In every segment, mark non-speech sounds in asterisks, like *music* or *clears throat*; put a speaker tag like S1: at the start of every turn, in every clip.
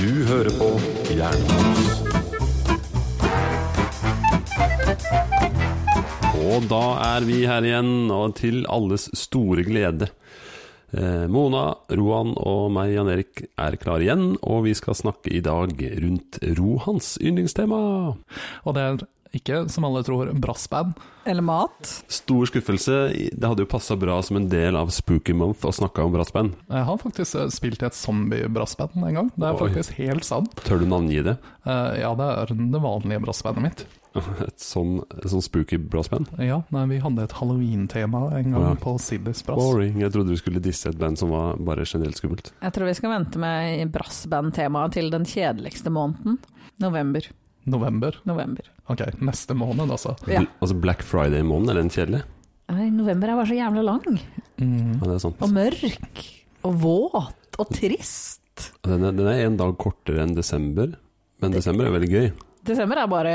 S1: Du hører på Jernbanen. Og da er vi her igjen, og til alles store glede. Eh, Mona, Roan og meg, Jan Erik, er klare igjen, og vi skal snakke i dag rundt Rohans yndlingstema.
S2: Og det er ikke, som alle tror, brassband.
S3: Eller mat.
S1: Stor skuffelse. Det hadde jo passa bra som en del av Spooky Month å snakke om brassband.
S2: Jeg har faktisk eh, spilt i et zombie-brassband en gang. Det er
S1: Oi.
S2: faktisk helt sant.
S1: Tør du navngi det? *laughs*
S2: Eh, ja, det er det vanlige brassbandet mitt.
S1: Et sånn, et sånn spooky brassband?
S2: Ja, nei, vi hadde et halloween-tema en gang
S1: Ja.
S2: på Siddis Brass.
S1: Boring. Jeg trodde du skulle disse et band som var bare generelt skummelt.
S3: Jeg tror vi skal vente med brassband-temaet til den kjedeligste måneden. November.
S2: November.
S3: November.
S2: Ok, neste måned, altså.
S3: Ja.
S1: Bl- Altså Black Friday-måneden, er den kjedelig?
S3: Nei, november er bare så jævla lang.
S1: Ja,
S2: Mm.
S1: det er sant.
S3: Og mørk. Og våt. Og trist.
S1: Altså, Den er, den er en dag kortere enn desember, men desember er veldig gøy.
S3: Desember er bare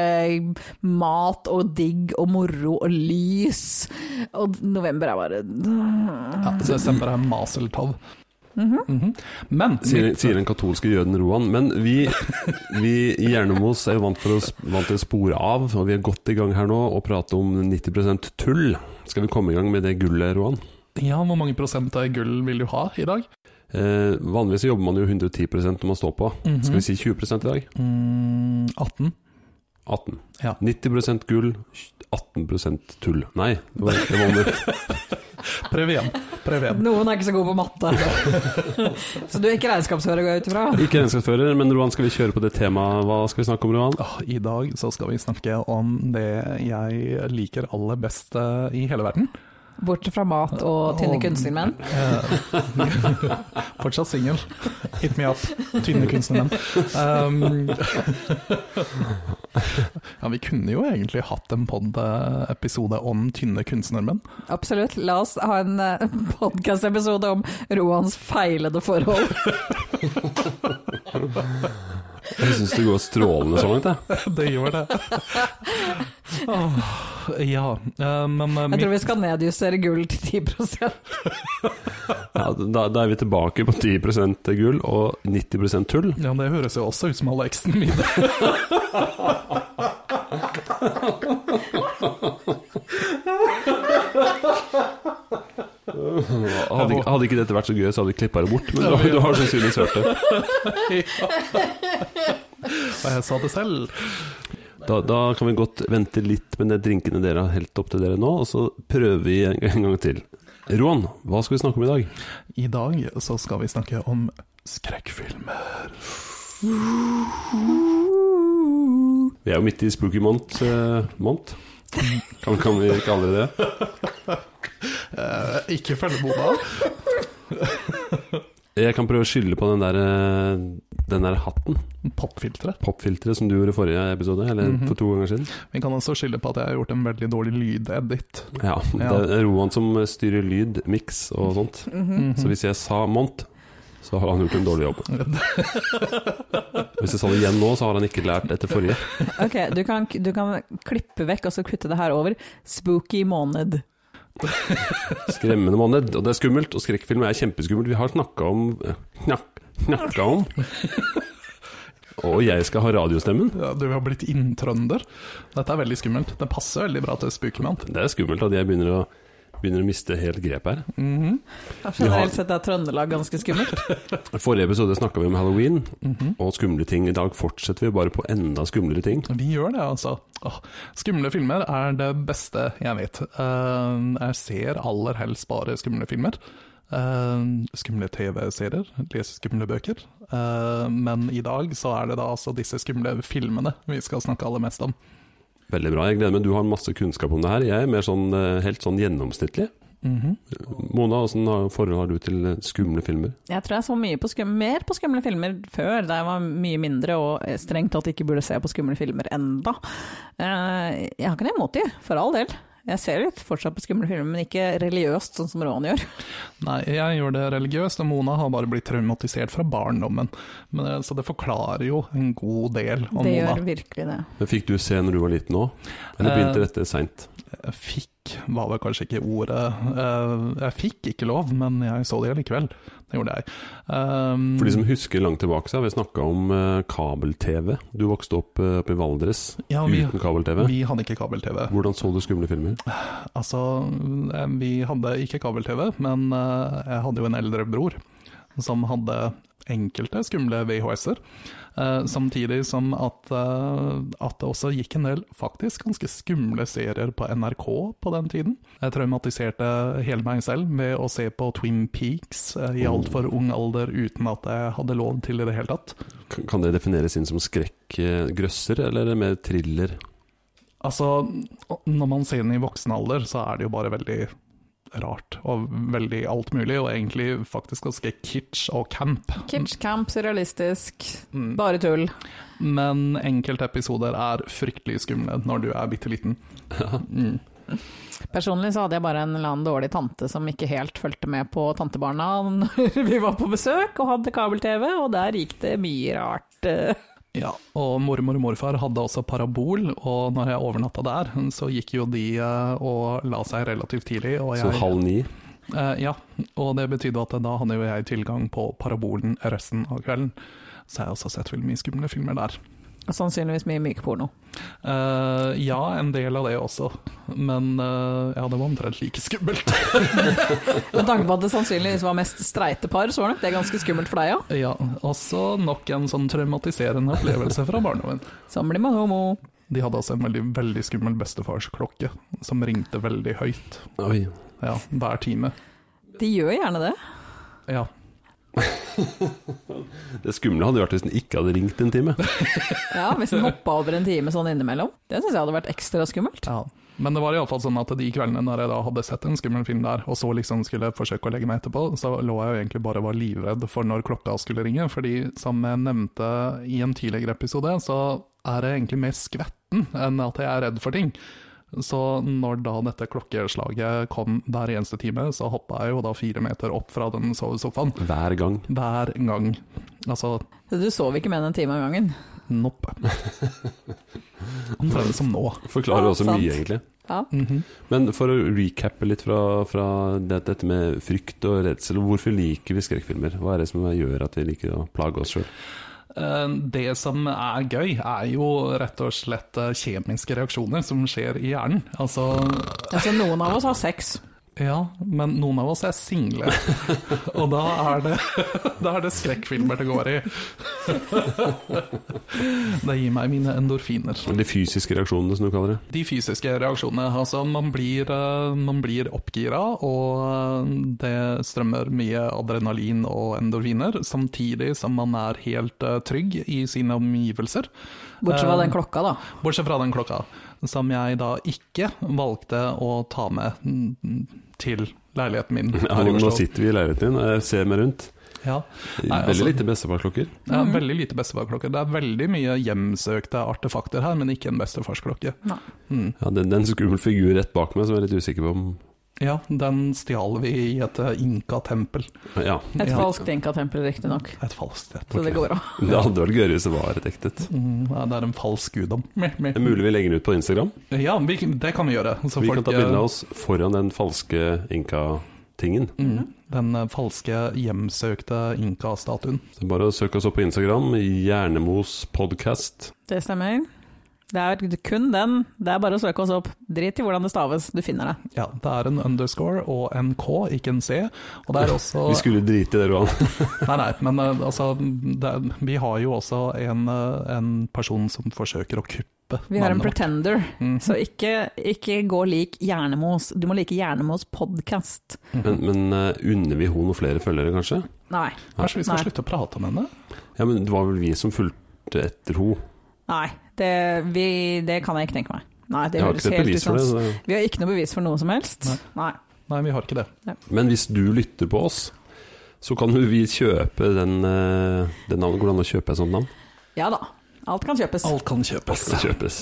S3: mat og digg og moro og lys. Og november er bare
S2: Ja, så desember er maseltov. Mhm. Men
S1: Sier,
S2: mitt-
S1: sier den katolske jøden Roan. Men
S2: *laughs*
S1: vi, vi i Jernemos er jo vant, for å, s- vant til å spore av, og vi er godt i gang her nå og prate om 90 tull. Skal vi komme i gang med det gullet, Roan?
S2: Ja, hvor mange prosent av gull vil du ha i dag?
S1: Eh, vanligvis så jobber man jo 110 når man står på.
S2: Mhm.
S1: Skal vi si 20 i dag?
S2: Mm, 18.
S1: 18.
S2: Ja.
S1: 90 gull, 18 tull. Nei, det var, det
S2: *laughs*
S1: var omvendt.
S2: Prøv igjen. Prøv igjen.
S3: Noen er ikke så god på matte. *laughs* så du er ikke regnskapsfører, går jeg ut ifra?
S1: Ikke regnskapsfører, men Roan, skal vi kjøre på det temaet? Hva skal vi snakke om, Roan?
S2: Ah, I dag så skal vi snakke om det jeg liker aller best eh, i hele verden.
S3: Bort fra mat og tynne
S2: Og-
S3: kunstnermenn.
S2: Eh, *laughs* fortsatt singel. Hit me up, tynne kunstnermenn. Um, *laughs* ja, vi kunne jo egentlig hatt en pod-episode om tynne kunstnermenn.
S3: Absolutt. La oss ha en *laughs* podkastepisode om Roans feilede forhold.
S1: Jeg syns det går strålende så langt, jeg.
S2: Det gjør
S3: *laughs*
S2: det. Åh, ja, eh, men eh,
S3: Jeg
S2: mitt-
S3: tror vi skal nedjustere gull til 10
S1: Ja, da, da er vi tilbake på 10 gull og 90 tull.
S2: ja, det høres jo også ut som all eksen min.
S1: Hadde, ikke- hadde ikke dette vært så gøy, så hadde vi klippa det bort. Men du, du har sannsynligvis hørt det.
S2: Og jeg sa det selv.
S1: Da, da kan vi godt vente litt med de drinkene dere har helt opp til dere nå, og så prøver vi en, en gang til. Roan, hva skal vi snakke om i dag?
S2: I dag så skal vi snakke om skrekkfilmer.
S1: Vi er jo midt i spooky month. eh, month. Kan, kan vi kalle det det?
S2: Eh, ikke følge Mona.
S1: Jeg kan prøve å skylde på den der, eh, den der hatten,
S2: *laughs* Popfiltre.
S1: popfilteret, som du gjorde i forrige episode, eller for to ganger siden.
S2: Vi kan også skylde på at jeg har gjort en veldig dårlig lydedit.
S1: Ja, det er Roan som styrer lyd, miks og sånt. Så hvis jeg sa Mont, så har han gjort en dårlig jobb. Hvis jeg sa det igjen nå, så har han ikke lært etter forrige.
S3: Ok, du kan, du kan klippe vekk og så kutte det her over. Spooky måned.
S1: Skremmende måned, og det er skummelt. Og skrekkfilm er kjempeskummelt. Vi har snakka om knak- Knakka om. Og jeg skal ha radiostemmen.
S2: Ja, Du har blitt inntrønder. Dette er veldig skummelt. Det passer veldig bra til Spookyman.
S1: Det er skummelt at jeg begynner å, begynner å miste helt grep her.
S3: Generelt sett er Trøndelag ganske skummelt.
S1: I forrige episode snakka vi om halloween
S2: Mhm.
S1: og skumle ting. I dag fortsetter vi bare på enda skumlere ting.
S2: Vi gjør det, altså. Åh, skumle filmer er det beste jeg vet. Eh, jeg ser aller helst bare skumle filmer. Eh, skumle TV-serier, leser skumle bøker. Eh, men i dag så er det da altså disse skumle filmene vi skal snakke aller mest om.
S1: Veldig bra. Jeg gleder meg. Du har masse kunnskap om det her. Jeg er mer sånn, eh, helt sånn gjennomsnittlig.
S2: Mhm.
S1: Mona, åssen har- forhold har du til eh, skumle filmer?
S3: Jeg tror jeg så mye på skum, mer på skumle filmer før, da jeg var mye mindre og strengt tatt ikke burde se på skumle filmer enda. Eh, Jeg har ikke noe imot de, for all del. Jeg ser litt fortsatt på skumle filmer, men ikke religiøst, sånn som Roan gjør.
S2: Nei, jeg gjør det religiøst, og Mona har bare blitt traumatisert fra barndommen. Men, eh, så det forklarer jo en god del om
S3: Det
S2: Mona.
S3: gjør virkelig det.
S1: Men Fikk du se når du var liten òg? Eller
S2: Eh,
S1: begynte dette seint?
S2: Jeg fikk Fikk var vel kanskje ikke ordet Eh, Jeg fikk ikke lov, men jeg så det likevel. Det gjorde jeg. Eh,
S1: For de som husker langt tilbake, så har vi snakka om eh, kabel-TV. Du vokste opp eh, oppe i Valdres
S2: ja, vi,
S1: uten kabel-TV.
S2: vi hadde ikke kabel-TV.
S1: Hvordan så du skumle filmer?
S2: Altså, eh, vi hadde ikke kabel-TV, men eh, jeg hadde jo en eldre bror som hadde enkelte skumle VHS-er. eh, Samtidig som at, eh, at det også gikk en del faktisk ganske skumle serier på NRK på den tiden. Jeg traumatiserte hele meg selv ved å se på Twin Peaks eh, i altfor ung alder uten at jeg hadde lov til det i det hele tatt.
S1: K- Kan det defineres inn som skrekkgrøsser, eller er det mer thriller?
S2: Altså, når man ser den i voksen alder, så er det jo bare veldig rart og veldig alt mulig, og egentlig faktisk ganske kitsch og camp.
S3: Kitschcamp, surrealistisk,
S2: Mm.
S3: bare tull.
S2: Men enkelte episoder er fryktelig skumle når du er bitte liten. Mm.
S3: Personlig så hadde jeg bare en eller annen dårlig tante som ikke helt fulgte med på tantebarna når *laughs* vi var på besøk og hadde kabel-TV, og der gikk det mye rart. eh.
S2: Ja, og mormor og morfar hadde også parabol, og når jeg overnatta der, så gikk jo de eh, og la seg relativt tidlig. Og jeg,
S1: Sånn halv ni?
S2: Eh, ja, og det betydde at da hadde jo jeg tilgang på parabolen resten av kvelden. Så jeg har også sett veldig mye skumle filmer der.
S3: Og sannsynligvis mye mykporno.
S2: Eh, ja, en del av det også, men eh, ja, det var omtrent like skummelt.
S3: Med tanke på at det sannsynligvis var mest streite par, så var nok det ganske skummelt for deg òg.
S2: ja, også nok en sånn traumatiserende opplevelse fra barndommen.
S3: Sånn blir man homo.
S2: De hadde også en veldig, veldig skummel bestefarsklokke som ringte veldig høyt
S1: Oi.
S2: ja, hver time.
S3: De gjør gjerne det.
S2: Ja,
S1: Det skumle hadde vært hvis den ikke hadde ringt en
S2: *laughs*
S1: time.
S3: Ja, Hvis den hoppa over en time sånn innimellom. Det syns jeg hadde vært ekstra skummelt.
S2: ja. Men det var iallfall sånn at de kveldene når jeg da hadde sett en skummel film der, og så liksom skulle forsøke å legge meg etterpå, så lå jeg jo egentlig bare og var livredd for når klokka skulle ringe. Fordi som jeg nevnte i en tidligere episode, så er jeg egentlig mer skvetten enn at jeg er redd for ting. Så når da dette klokkeslaget kom hver eneste time, så hoppa jeg jo da fire meter opp fra den sovesofaen.
S1: Hver gang.
S2: Hver gang. Altså,
S3: Så du sov ikke mer enn en time av gangen.
S2: nopp. Omtrent som nå.
S1: Forklarer
S3: Ja,
S1: også
S3: sant.
S1: mye, egentlig.
S3: Ja.
S2: Mhm.
S1: Men for å recappe litt fra, fra det, dette med frykt og redsel, hvorfor liker vi skrekkfilmer? Hva er det som gjør at vi liker å plage oss sjøl?
S2: Eh, Det som er gøy, er jo rett og slett eh, kjemiske reaksjoner som skjer i hjernen. Altså,
S3: Altså, noen av oss har sex.
S2: ja, men noen av oss er single, og da er det, *laughs* da er det skrekkfilmer det går i. *laughs* Det gir meg mine endorfiner.
S1: De fysiske reaksjonene, som du kaller det.
S2: De fysiske reaksjonene, altså man blir, eh, man blir oppgira, og eh, det strømmer mye adrenalin og endorfiner, samtidig som man er helt eh, trygg i sine omgivelser.
S3: Bortsett fra
S2: Eh,
S3: den klokka, da.
S2: Bortsett fra den klokka, som jeg da ikke valgte å ta med mm, til leiligheten min.
S1: *laughs* Ja,
S2: her i
S1: nå nå
S2: Oslo.
S1: sitter vi i leiligheten din, jeg ser meg rundt.
S2: Ja,
S1: Veldig
S2: Nei, altså-
S1: lite bestefarsklokker.
S2: det er veldig lite bestefarklokke. Det er veldig mye hjemsøkte artefakter her, men ikke en bestefarsklokke.
S3: Nei.
S2: Mm.
S1: Ja, det, det er en skummel figur rett bak meg som jeg er litt usikker på om
S2: Ja, den stjal vi i et eh, inka-tempel.
S1: Ja,
S3: Et
S2: Ja.
S3: falskt inka-tempel, riktignok.
S2: Et falskt et.
S3: Så det går bra.
S1: det hadde vært gøyere hvis det var et ekte et.
S2: Mm, ja, det er en falsk guddom. Meh, meh.
S1: Det er mulig vi legger den ut på Instagram.
S2: Ja, vi, det kan vi gjøre. Så
S1: Vi
S2: folk,
S1: kan ta bilde
S2: eh,
S1: av oss foran den falske inka-tingen.
S2: Mm, den eh, falske hjemsøkte inka-statuen.
S1: Så Bare å søke oss opp på Instagram. Hjernemos podcast.
S3: Det stemmer. Det er kun den. Det er bare å søke oss opp. Drit i hvordan det staves, du finner det.
S2: Ja, det er en underscore og en K, ikke en C. Og det er også
S1: Vi skulle drite i det, Roan.
S2: Nei, nei, men eh, altså det, er- Vi har jo også en, eh, en person som forsøker å kuppe
S3: Vi har en
S2: navnet vårt.
S3: pretender,
S2: Mm.
S3: så ikke, ikke gå lik Hjernemos. Du må like Hjernemos podkast.
S1: Men,
S2: Mm.
S1: men eh, unner vi henne noen flere følgere, kanskje?
S3: Nei.
S2: Kanskje vi skal
S3: Nei.
S2: slutte å prate om henne?
S1: Ja, men det var vel vi som fulgte etter henne.
S3: Nei. Det, vi, det kan jeg ikke tenke meg. Nei, det
S1: Jeg har ikke
S3: høres
S1: sett
S3: helt
S1: bevis
S3: ut
S1: for
S3: som
S1: det. Så.
S3: Vi har ikke noe bevis for noe som helst. Nei.
S2: Nei, vi har ikke det.
S1: Men hvis du lytter på oss, så kan jo vi kjøpe den, eh, det navnet. Går det an å kjøpe et sånt navn?
S3: Ja da. Alt kan kjøpes.
S2: Alt kan kjøpes.
S1: Kjøpes.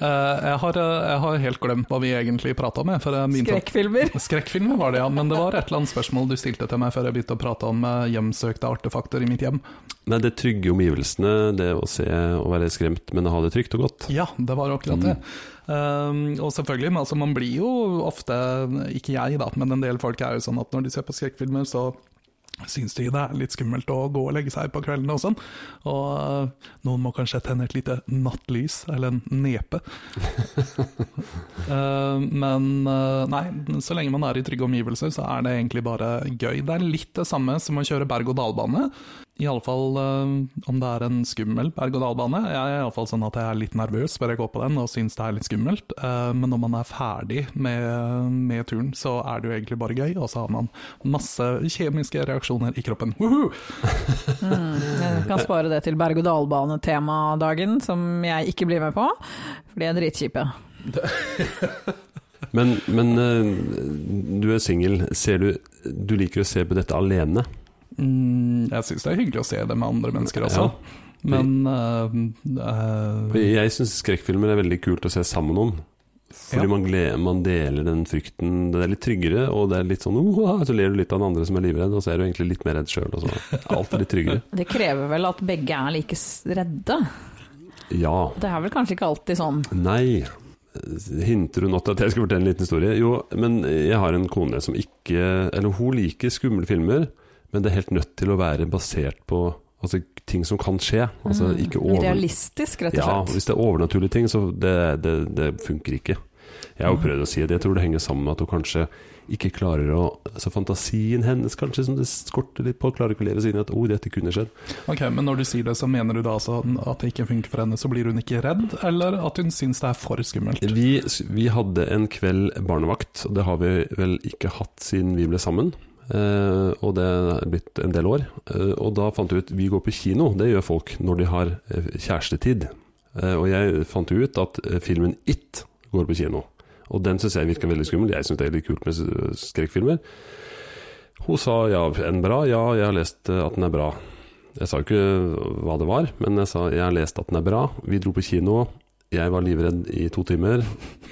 S2: Eh, jeg, har, eh, jeg har helt glemt hva vi egentlig prata om. jeg, For jeg begynte å-
S3: Skrekkfilmer.
S2: Skrekkfilmer var det, ja. Men det var et eller annet spørsmål du stilte til meg før jeg begynte å prate om eh, hjemsøkte artefakter i mitt hjem.
S1: Nei, det trygge omgivelsene, det å se og være skremt, men ha det trygt og godt.
S2: Ja, det var akkurat det. Um, og selvfølgelig, men altså, man blir jo ofte, ikke jeg da, men en del folk er jo sånn at når de ser på skrekkfilmer, så syns de det er litt skummelt å gå og legge seg på kveldene og sånn. Og uh, noen må kanskje tenne et lite nattlys, eller en nepe. uh, men uh, nei, så lenge man er i trygge omgivelser, så er det egentlig bare gøy. Det er litt det samme som å kjøre berg-og-dal-bane. Iallfall uh, om det er en skummel berg-og-dal-bane. Jeg er iallfall sånn at jeg er litt nervøs før jeg går på den og syns det er litt skummelt. Eh, men når man er ferdig med, med turen, så er det jo egentlig bare gøy, og så har man masse kjemiske reaksjoner i kroppen. Woohoo!
S3: Mm, jeg kan spare det til berg-og-dal-bane-temadagen, som jeg ikke blir med på, for de er dritkjipe.
S1: Men, men eh, du er singel. Ser du Du liker å se på dette alene?
S2: Mm, jeg syns det er hyggelig å se det med andre mennesker også,
S1: Ja.
S2: men eh, eh,
S1: For Jeg syns skrekkfilmer er veldig kult å se sammen om. Fordi
S2: Ja.
S1: man, gleder, man deler den frykten. Det er litt tryggere, og det er litt sånn «Oha», Så ler du litt av den andre som er livredd, og så er du egentlig litt mer redd sjøl. Alt er litt tryggere.
S3: Det krever vel at begge er like s- redde.
S1: Ja.
S3: Det er vel kanskje ikke alltid sånn.
S1: Nei. Hinter hun at jeg skal fortelle en liten historie? Jo, men jeg har en kone som ikke Eller hun liker skumle filmer, men det er helt nødt til å være basert på altså, ting som kan skje. Altså
S3: Mm,
S1: ikke over...
S3: Realistisk, rett og
S1: Ja,
S3: slett.
S1: hvis det er overnaturlige ting, så det, det, det funker ikke. Jeg
S3: Mm.
S1: har jo prøvd å si det. Jeg tror det henger sammen med at hun kanskje ikke klarer å Så fantasien hennes kanskje som det skorter litt på, klarer ikke å leve seg inn i at 'å, dette kunne skjedd'.
S2: ok, men når du sier det, så mener du da altså at det ikke funker for henne, så blir hun ikke redd, eller at hun syns det er for skummelt?
S1: Vi, vi hadde en kveld barnevakt, og det har vi vel ikke hatt siden vi ble sammen. Eh, og det er blitt en del år. Eh, og da fant vi ut vi går på kino. Det gjør folk når de har eh, kjærestetid. Eh, og jeg fant jo ut at eh, filmen It går på kino. Og den syns jeg virka veldig skummel. Jeg syns det er litt kult med s- skrekkfilmer. Hun sa ja, er den bra? Ja, jeg har lest eh, at den er bra. Jeg sa jo ikke eh, hva det var, men jeg sa jeg har lest at den er bra. Vi dro på kino. Jeg var livredd i to timer.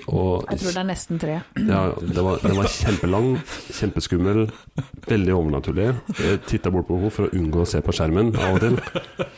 S1: Og
S3: Jeg tror det er nesten tre.
S1: ja, det var, det var kjempelang, kjempeskummel, veldig overnaturlig. Jeg titta bort på henne for å unngå å se på skjermen av og til.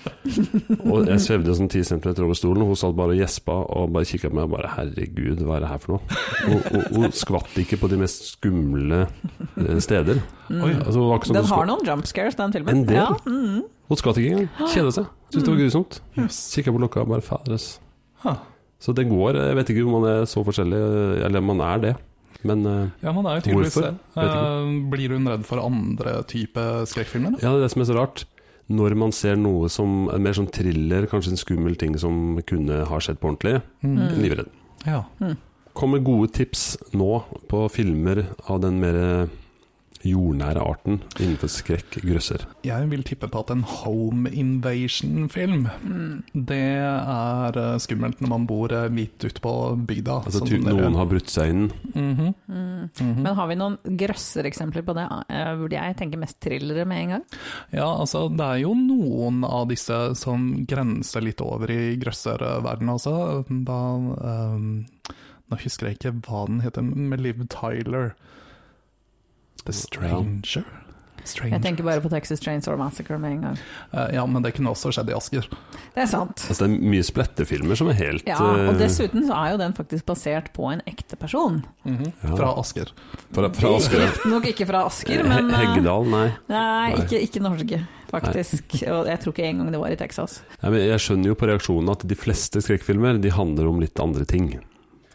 S1: Og jeg svevde sånn 10 cm over stolen, og hun satt bare og gjespa og bare kikka på meg og bare 'herregud, hva er det her for noe?' Hun- Hun hun skvatt ikke på de mest skumle eh, steder.
S2: Oi,
S1: Altså, det var ikke som
S3: Mm. Den
S1: hun,
S3: har
S1: skvatt-
S3: noen jump scares, den filmen.
S1: En del.
S3: Ja, mm.
S1: hun skvatt ikke engang. Kjeda seg. Syntes det var grusomt.
S2: Yes.
S1: Kikka på klokka og bare 'fader, ass'.
S2: Huh.
S1: Så det går. Jeg vet ikke om man er så forskjellig, eller man er det. Men eh,
S2: Ja, man er jo tydeligvis
S1: Hvorfor?
S2: det.
S1: Vet
S2: Eh, Blir hun redd for andre type skrekkfilmer? da?
S1: Ja, det er det som er så rart. Når man ser noe som er mer sånn thriller, kanskje en skummel ting som kunne ha skjedd på ordentlig,
S3: Mm.
S1: livredd.
S2: Ja.
S1: Kommer gode tips nå på filmer av den mer jordnære arten innenfor skrekk, grøsser.
S2: Jeg vil tippe på at en home invasion-film,
S3: mm,
S2: det er eh, skummelt når man bor eh, litt ute på bygda.
S1: Altså
S2: sånn
S1: ty-
S2: som dere-
S1: noen har brutt seg inn.
S2: Mhm,
S3: Mm.
S2: mhm.
S3: Men har vi noen grøssereksempler på det? Eh, Hvor jeg tenker mest thrillere med en gang.
S2: Ja, altså, det er jo noen av disse som grenser litt over i grøsserverdenen, altså. Da ehm, Nå husker jeg ikke hva den heter, med Liv Tyler. The Stranger? Stranger.
S3: Jeg tenker bare på Texas Chainsaw Massacre med en gang.
S2: Eh, ja, men det kunne også skjedd i Asker.
S3: Det er sant.
S1: Altså det er mye splettefilmer som er helt
S3: Ja, og
S1: eh,
S3: dessuten så er jo den faktisk basert på en ekte person.
S2: Mhm,
S1: Ja.
S2: Fra Asker.
S1: Fra, fra Asker.
S3: Nok ikke fra Asker, men
S1: He-
S3: eh,
S1: Heggedal, nei.
S3: Nei,
S1: Nei.
S3: ikke, ikke Norge, faktisk. Og jeg tror ikke engang det var i Texas.
S1: nei men jeg skjønner jo på reaksjonen at de fleste skrekkfilmer de handler om litt andre ting.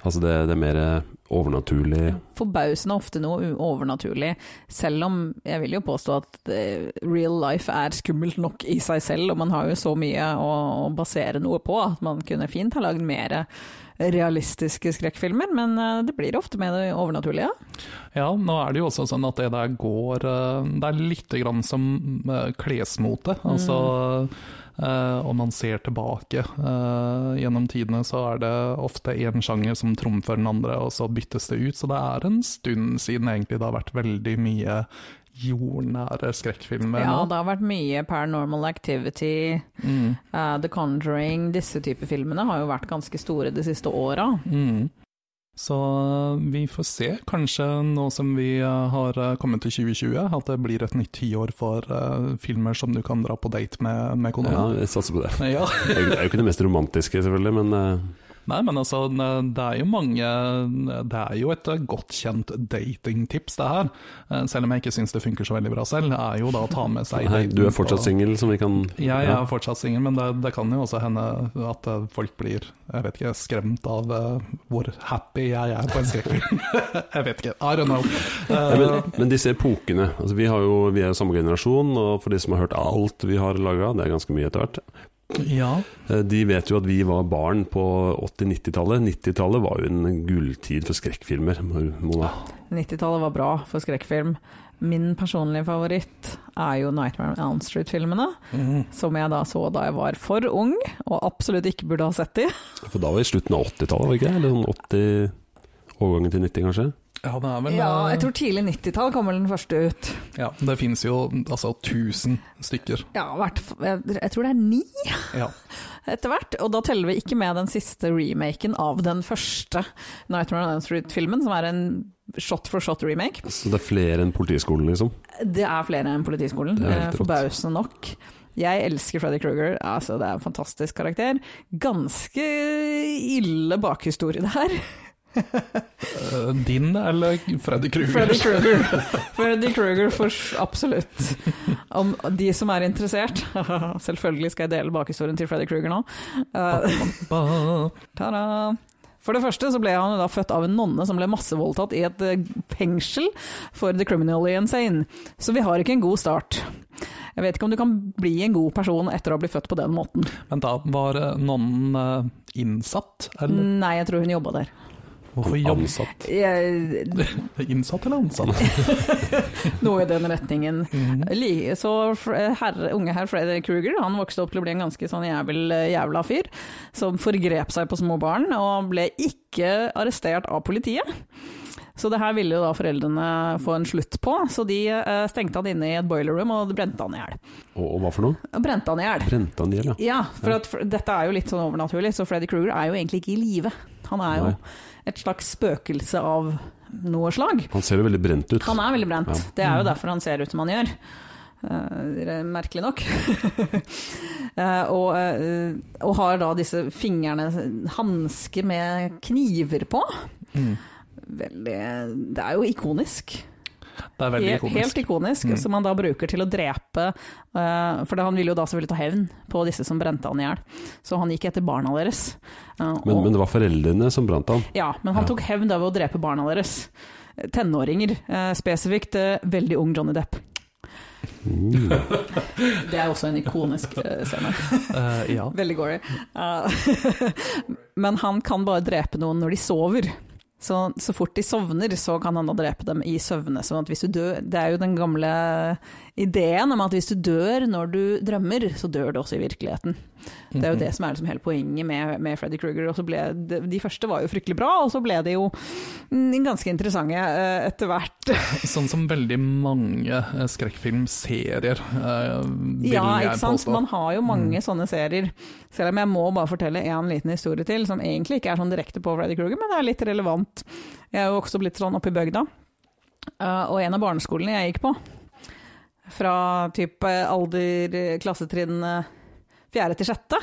S1: Altså det, det er mer eh, overnaturlig.
S3: Forbausende ofte noe u- overnaturlig, selv om jeg vil jo påstå at eh, real life er skummelt nok i seg selv, og man har jo så mye å, å basere noe på at man kunne fint ha lagd mer realistiske skrekkfilmer, men eh, det blir ofte med det overnaturlige.
S2: Ja, nå er det jo også sånn at det der går eh, Det er litt grann som eh, klesmote. Altså, eh, om man ser tilbake eh, gjennom tidene, så er det ofte én sjanger som trumfer den andre, og så byttes det ut. Så det er en stund siden egentlig det har vært veldig mye jordnære skrekkfilmer
S3: Ja,
S2: nå.
S3: det har vært mye Paranormal Activity,
S2: Mm,
S3: eh, The Conjuring Disse typer filmene har jo vært ganske store de siste åra.
S2: mm. Så eh, vi får se, kanskje nå som vi eh, har eh, kommet til 2020, at det blir et nytt tiår for eh, filmer som du kan dra på date med, med
S1: Ja,
S2: kona.
S1: jeg satser på det.
S2: *laughs* Ja.
S1: Det er jo- det er jo ikke det mest romantiske, selvfølgelig, men eh,
S2: Nei, men altså, det er jo mange Det er jo et eh, godt kjent datingtips, det her. Eh, Selv om jeg ikke syns det funker så veldig bra selv, er jo da å ta med seg
S1: nei,
S2: daten
S1: du er
S2: på-
S1: fortsatt singel, som vi kan
S2: Ja, jeg
S1: ja.
S2: er fortsatt singel, men det, det kan jo også hende at eh, folk blir jeg vet ikke, skremt av eh, hvor happy jeg er på en skrekkfilm. *laughs* jeg vet ikke, I don't know.
S1: Nei,
S2: Eh,
S1: men, men disse epokene altså vi, har jo, vi er jo samme generasjon, og for de som har hørt alt vi har laga, det er ganske mye etter hvert,
S2: ja,
S1: eh, de vet jo at vi var barn på 80-90-tallet. 90-tallet var jo en gulltid for skrekkfilmer. Mona.
S3: 90-tallet var bra for skrekkfilm. Min personlige favoritt er jo Nightmare on Elm Street-filmene,
S2: mm,
S3: som jeg da så da jeg var for ung, og absolutt ikke burde ha sett de.
S1: For da var det slutten av 80-tallet, var det ikke? Eller sånn 80 Overgangen til 90, kanskje?
S2: ja, det er vel
S3: Ja,
S2: eh,
S3: jeg tror tidlig 90-tall kommer den første ut.
S2: ja, Det fins jo altså 1000 stykker.
S3: Ja, hvert, f- jeg jeg tror det er ni
S2: Ja.
S3: etter hvert, og da teller vi ikke med den siste remaken av den første Nightmare on Elm Street-filmen, som er en shot for shot remake.
S1: Så det er flere enn Politiskolen, liksom?
S3: Det er flere enn Politiskolen,
S1: Det er helt
S3: eh,
S1: rått.
S3: forbausende nok. Jeg elsker Freddy Kruger, altså det er en fantastisk karakter. Ganske ille bakhistorie det her.
S2: Eh, Din eller Freddy Kruger?
S3: Freddy
S2: *laughs*
S3: Kruger, *laughs* Freddy Kruger for s- absolutt. Om de som er interessert, *laughs* selvfølgelig skal jeg dele bakhistorien til Freddy Kruger nå. Eh,
S2: Ba,
S3: Ta-da! For det første så ble han jo da født av en nonne som ble massevoldtatt i et eh, fengsel for the criminally insane. Så vi har ikke en god start. Jeg vet ikke om du kan bli en god person etter å bli født på den måten.
S2: Vent, da. Var eh, nonnen eh, innsatt, eller?
S3: Nei, jeg tror hun jobba der.
S2: Hvorfor jobb?
S1: Ansatt.
S3: Jeg,
S2: Innsatt eller ansatt?
S1: *laughs*
S3: noe i den retningen.
S2: Mm.
S3: Li- Så fr- herre, unge herr Freddy Kruger han vokste opp til å bli en ganske sånn jævel, jævla fyr, som forgrep seg på små barn, og ble ikke arrestert av politiet. Så det her ville jo da foreldrene få en slutt på, så de eh, stengte han inne i et boiler room og brente han i hjel.
S1: Og, og hva for noe?
S3: Og Brente han i hjel.
S1: Brente han i hjel, ja.
S3: Ja, for, at, for dette er jo litt sånn overnaturlig, så Freddy Kruger er jo egentlig ikke i live. Han er jo
S1: Nei.
S3: et slags spøkelse av noe slag.
S1: Han ser jo veldig brent ut.
S3: Han er veldig brent.
S1: Ja. Mm.
S3: Det er jo derfor han ser ut som han gjør. Eh, merkelig nok. *laughs* Eh, og, eh, og har da disse fingrene hansker med kniver på.
S2: Mm.
S3: Veldig Det er jo ikonisk.
S2: Det er veldig
S3: Helt-
S2: komisk.
S3: Helt ikonisk.
S2: Mm.
S3: Som han da bruker til å drepe eh, For han ville jo da selvfølgelig ta hevn på disse som brente han i hjel. Så han gikk etter barna deres. Eh,
S1: Men,
S3: og-
S1: men det var foreldrene som brant han.
S3: ja, men han
S1: Ja.
S3: tok hevn da ved å drepe barna deres. Tenåringer, eh, spesifikt eh, veldig ung Johnny Depp.
S1: Mm.
S3: Det er også en ikonisk eh, scene.
S2: Eh, ja.
S3: *laughs* Veldig gory. Eh, *laughs* men han kan bare drepe noen når de sover. Så, så fort de sovner, så kan han da drepe dem i søvne. Sånn at hvis du dør, det er jo den gamle ideen om at hvis du dør når du drømmer, så dør du også i virkeligheten. Det er jo det som er liksom hele poenget med, med Freddy Krueger. Og så ble det, de første var jo fryktelig bra, og så ble de jo mm, ganske interessante eh, etter hvert.
S2: Sånn som veldig mange eh, skrekkfilmserier, eh, vil
S3: Ja,
S2: jeg
S3: ikke sant.
S2: påstå.
S3: Man har jo mange sånne serier. Selv om jeg må bare fortelle én liten historie til, som egentlig ikke er sånn direkte på Freddy Krueger, men det er litt relevant. Jeg er jo også blitt sånn oppe i bygda. Eh, og en av barneskolene jeg gikk på, fra type alder eh, klassetrinn eh, fjerde til sjette,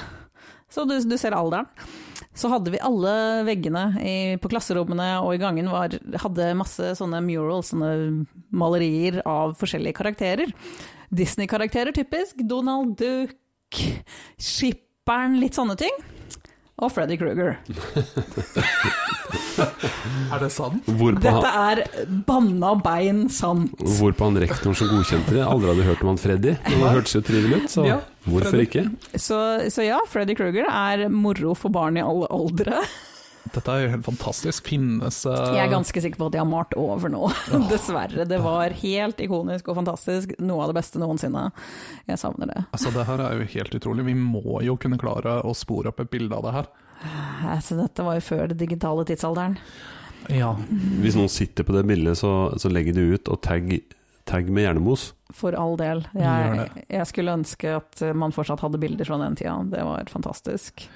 S3: så du, du ser alderen, så hadde vi alle veggene i, på klasserommene og i gangen var, hadde masse sånne murals, sånne malerier av forskjellige karakterer. Disney-karakterer, typisk. Donald Duck, Skipperen, litt sånne ting. Og Freddy Krueger.
S2: Er det sant?
S1: Hvorpå,
S3: Dette
S1: han,
S3: er banna bein sant.
S1: hvorpå han rektoren som godkjente det, aldri hadde hørt om han Freddy. Men han hørtes jo trivelig ut, så
S2: Ja,
S1: hvorfor
S2: Freddy.
S1: ikke?
S3: Så, så ja, Freddy Krueger er moro for barn i alle aldre.
S2: Dette er jo helt fantastisk. Finnes eh,
S3: Jeg er ganske sikker på at de har malt over nå, *laughs* dessverre. Det var helt ikonisk og fantastisk. Noe av det beste noensinne. Jeg savner det.
S2: Altså, det her er jo helt utrolig. Vi må jo kunne klare å spore opp et bilde av det her.
S3: Altså, dette var jo før den digitale tidsalderen.
S2: Ja.
S1: Hvis noen sitter på det bildet, så, så legg det ut og tagg tagg Hashtag med hjernemos.
S3: For all del.
S2: Gjør
S3: Jeg, jeg skulle ønske at man fortsatt hadde bilder fra den tida. Det var fantastisk.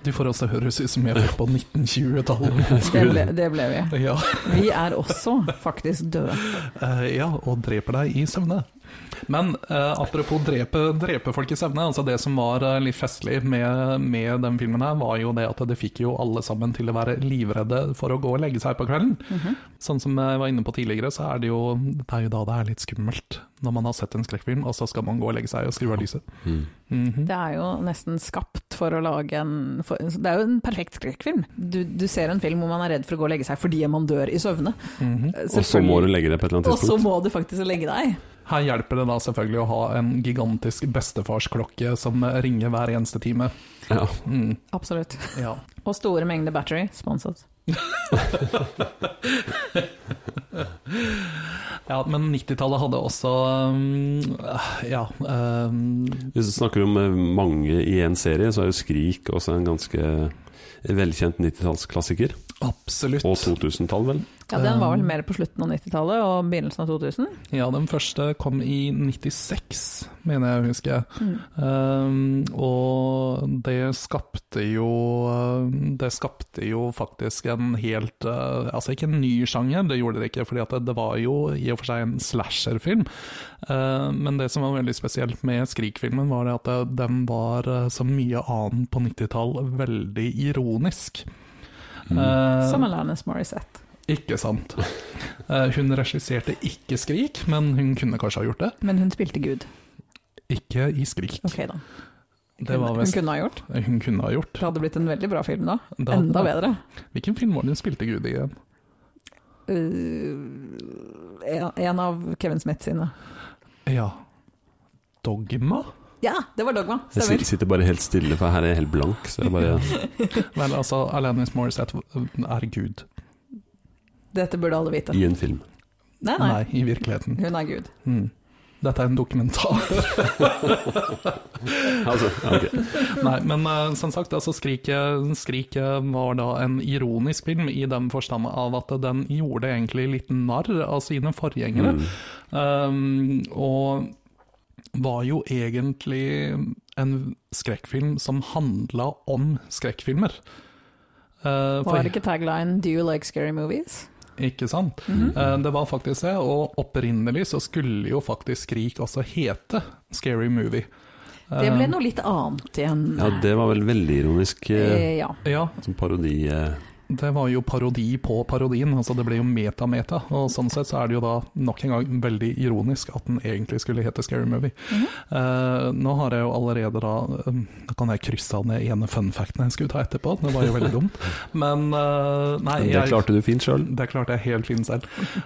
S2: De får også høres ut som jeg var på 1920-tallet.
S3: Det ble, det ble vi.
S2: Ja.
S3: Vi er også faktisk døde.
S2: Eh, ja, og dreper deg i søvne. Men eh, apropos drepe, drepe folk i søvne, altså det som var eh, litt festlig med, med den filmen her, var jo det at det fikk jo alle sammen til å være livredde for å gå og legge seg på kvelden.
S3: Mhm.
S2: Sånn som jeg var inne på tidligere, så er det jo, det er jo da det er litt skummelt. Når man har sett en skrekkfilm, og så skal man gå og legge seg og skru av lyset.
S1: Mm.
S2: Mhm.
S3: Det er jo nesten skapt for å lage en for, Det er jo en perfekt skrekkfilm. Du, du ser en film hvor man er redd for å gå og legge seg fordi man dør i søvne.
S2: Mhm.
S1: Og så må du legge det på et eller
S3: Og
S1: annet
S3: så
S1: tidspunkt.
S3: må du faktisk legge deg.
S2: Her hjelper det da selvfølgelig å ha en gigantisk bestefarsklokke som eh, ringer hver eneste time.
S1: Ja.
S2: Mm,
S3: Absolutt.
S2: ja.
S3: Og store mengder battery. Sponset.
S2: Ja, men 90-tallet hadde også um, Ja. Um,
S1: Hvis du snakker om eh, mange i en serie, så er jo 'Skrik' også en ganske velkjent 90-tallsklassiker.
S2: absolutt.
S1: Og 2000-tall, vel.
S3: Ja, Den
S1: Um,
S3: var vel mer på slutten av 90-tallet og begynnelsen av 2000.
S2: Ja, den første kom i 96, mener jeg å huske.
S3: Mm.
S2: Um, og det skapte jo um, Det skapte jo faktisk en helt uh, Altså ikke en ny sjanger, det gjorde det ikke, fordi at det, det var jo i og for seg en slasherfilm. Uh, men det som var veldig spesielt med Skrik-filmen, var det at det- den var, uh, som mye annet på 90-tall, veldig ironisk.
S1: Mm.
S3: Eh,
S2: Uh,
S3: Som Alanis Morissette.
S2: Ikke sant. Eh, Hun regisserte ikke 'Skrik', men hun kunne kanskje ha gjort det.
S3: Men hun spilte Gud.
S2: Ikke i 'Skrik'.
S3: Ok, da.
S2: Det var
S3: hun
S2: vest
S3: kunne ha gjort.
S2: hun kunne ha gjort.
S3: Det hadde blitt en veldig bra film da.
S2: Da-
S3: Enda bedre.
S2: Hvilken film var det hun spilte Gud i igjen?
S3: Uh, en- en av Kevin Smith sine.
S2: Ja Dogma?
S3: Ja, det var Dogma.
S1: Jeg
S3: Stemmer.
S1: sit- sitter bare helt stille, for her er jeg helt blank. Så jeg bare
S3: *laughs*
S2: Vel, altså, Alanis Morissette eh, er Gud.
S3: Dette burde alle vite.
S1: i en film.
S3: Nei, nei.
S2: Nei, i virkeligheten.
S3: Hun er Gud.
S2: Mm. Dette er en dokumentar.
S3: *laughs*
S1: Altså, ok.
S2: Nei, men eh, som sagt, altså skriket, 'Skriket' eh, var da en ironisk film i den forstand av at den gjorde egentlig litt narr av sine forgjengere.
S1: Mm.
S2: Um, og var jo egentlig en skrekkfilm som handla om skrekkfilmer. Uh, for,
S3: Var ikke tagline 'Do you like scary movies'? Mhm.
S2: ikke sant? Eh, det var faktisk det, og opprinnelig så skulle jo faktisk Skrik også hete Scary Movie. Ehm,
S3: Det
S2: Um,
S3: ble noe litt annet igjen.
S1: Ja, det var vel veldig ironisk. eh,
S3: Eh, ja.
S2: Ja,
S1: Som parodi. eh.
S2: det var jo parodi på parodien, altså det ble jo meta-meta. Og sånn sett så er det jo da nok en gang veldig ironisk at den egentlig skulle hete Scary Movie. Eh, nå har jeg jo allerede da um, Da kan jeg krysse av den ene funfacten jeg skulle ta etterpå, det var jo veldig dumt. Men eh, nei,
S1: Det
S2: jeg,
S1: klarte du fint sjøl.
S2: det klarte jeg helt fint selv.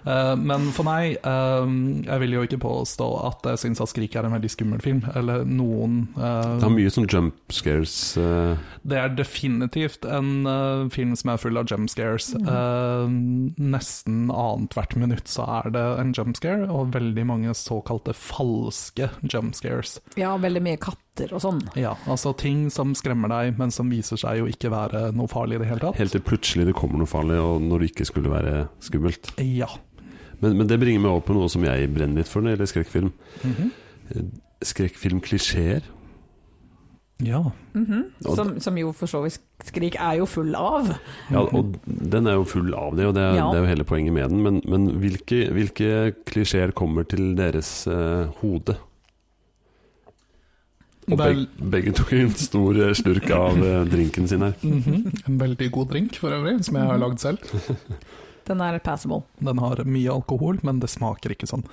S2: Eh, men for meg, eh, jeg vil jo ikke påstå at jeg syns at 'Skrik' er en veldig skummel film, eller noen eh,
S1: Det har mye sånn jump scares. eh,
S2: det er definitivt en eh, film som er full av jump scares. Eh, nesten annethvert minutt så er det en jump scare, og veldig mange såkalte falske jump scares.
S3: ja, veldig mye katter og sånn.
S2: Ja, altså ting som skremmer deg, men som viser seg jo ikke være noe farlig i det hele tatt.
S1: Helt til plutselig det kommer noe farlig, og når det ikke skulle være skummelt.
S2: Ja.
S1: Men, men det bringer meg over på noe som jeg brenner litt for når det gjelder skrekkfilm.
S2: Mhm.
S1: Skrekkfilmklisjeer.
S2: Ja.
S3: Mhm.
S1: Og
S3: som, som jo for så vidt Skrik er jo full av.
S1: Ja, og den er jo full av det, og det er,
S3: Ja.
S1: det er jo hele poenget med den. Men, men hvilke, hvilke klisjeer kommer til deres eh, hode? Og
S2: Vel,
S1: beg, begge tok en stor eh, slurk av eh, drinken sin
S2: *laughs*
S1: her.
S2: mhm, En veldig god drink for øvrig, som jeg har lagd selv.
S3: Den er passable.
S2: Den har mye alkohol, men det smaker ikke sånn.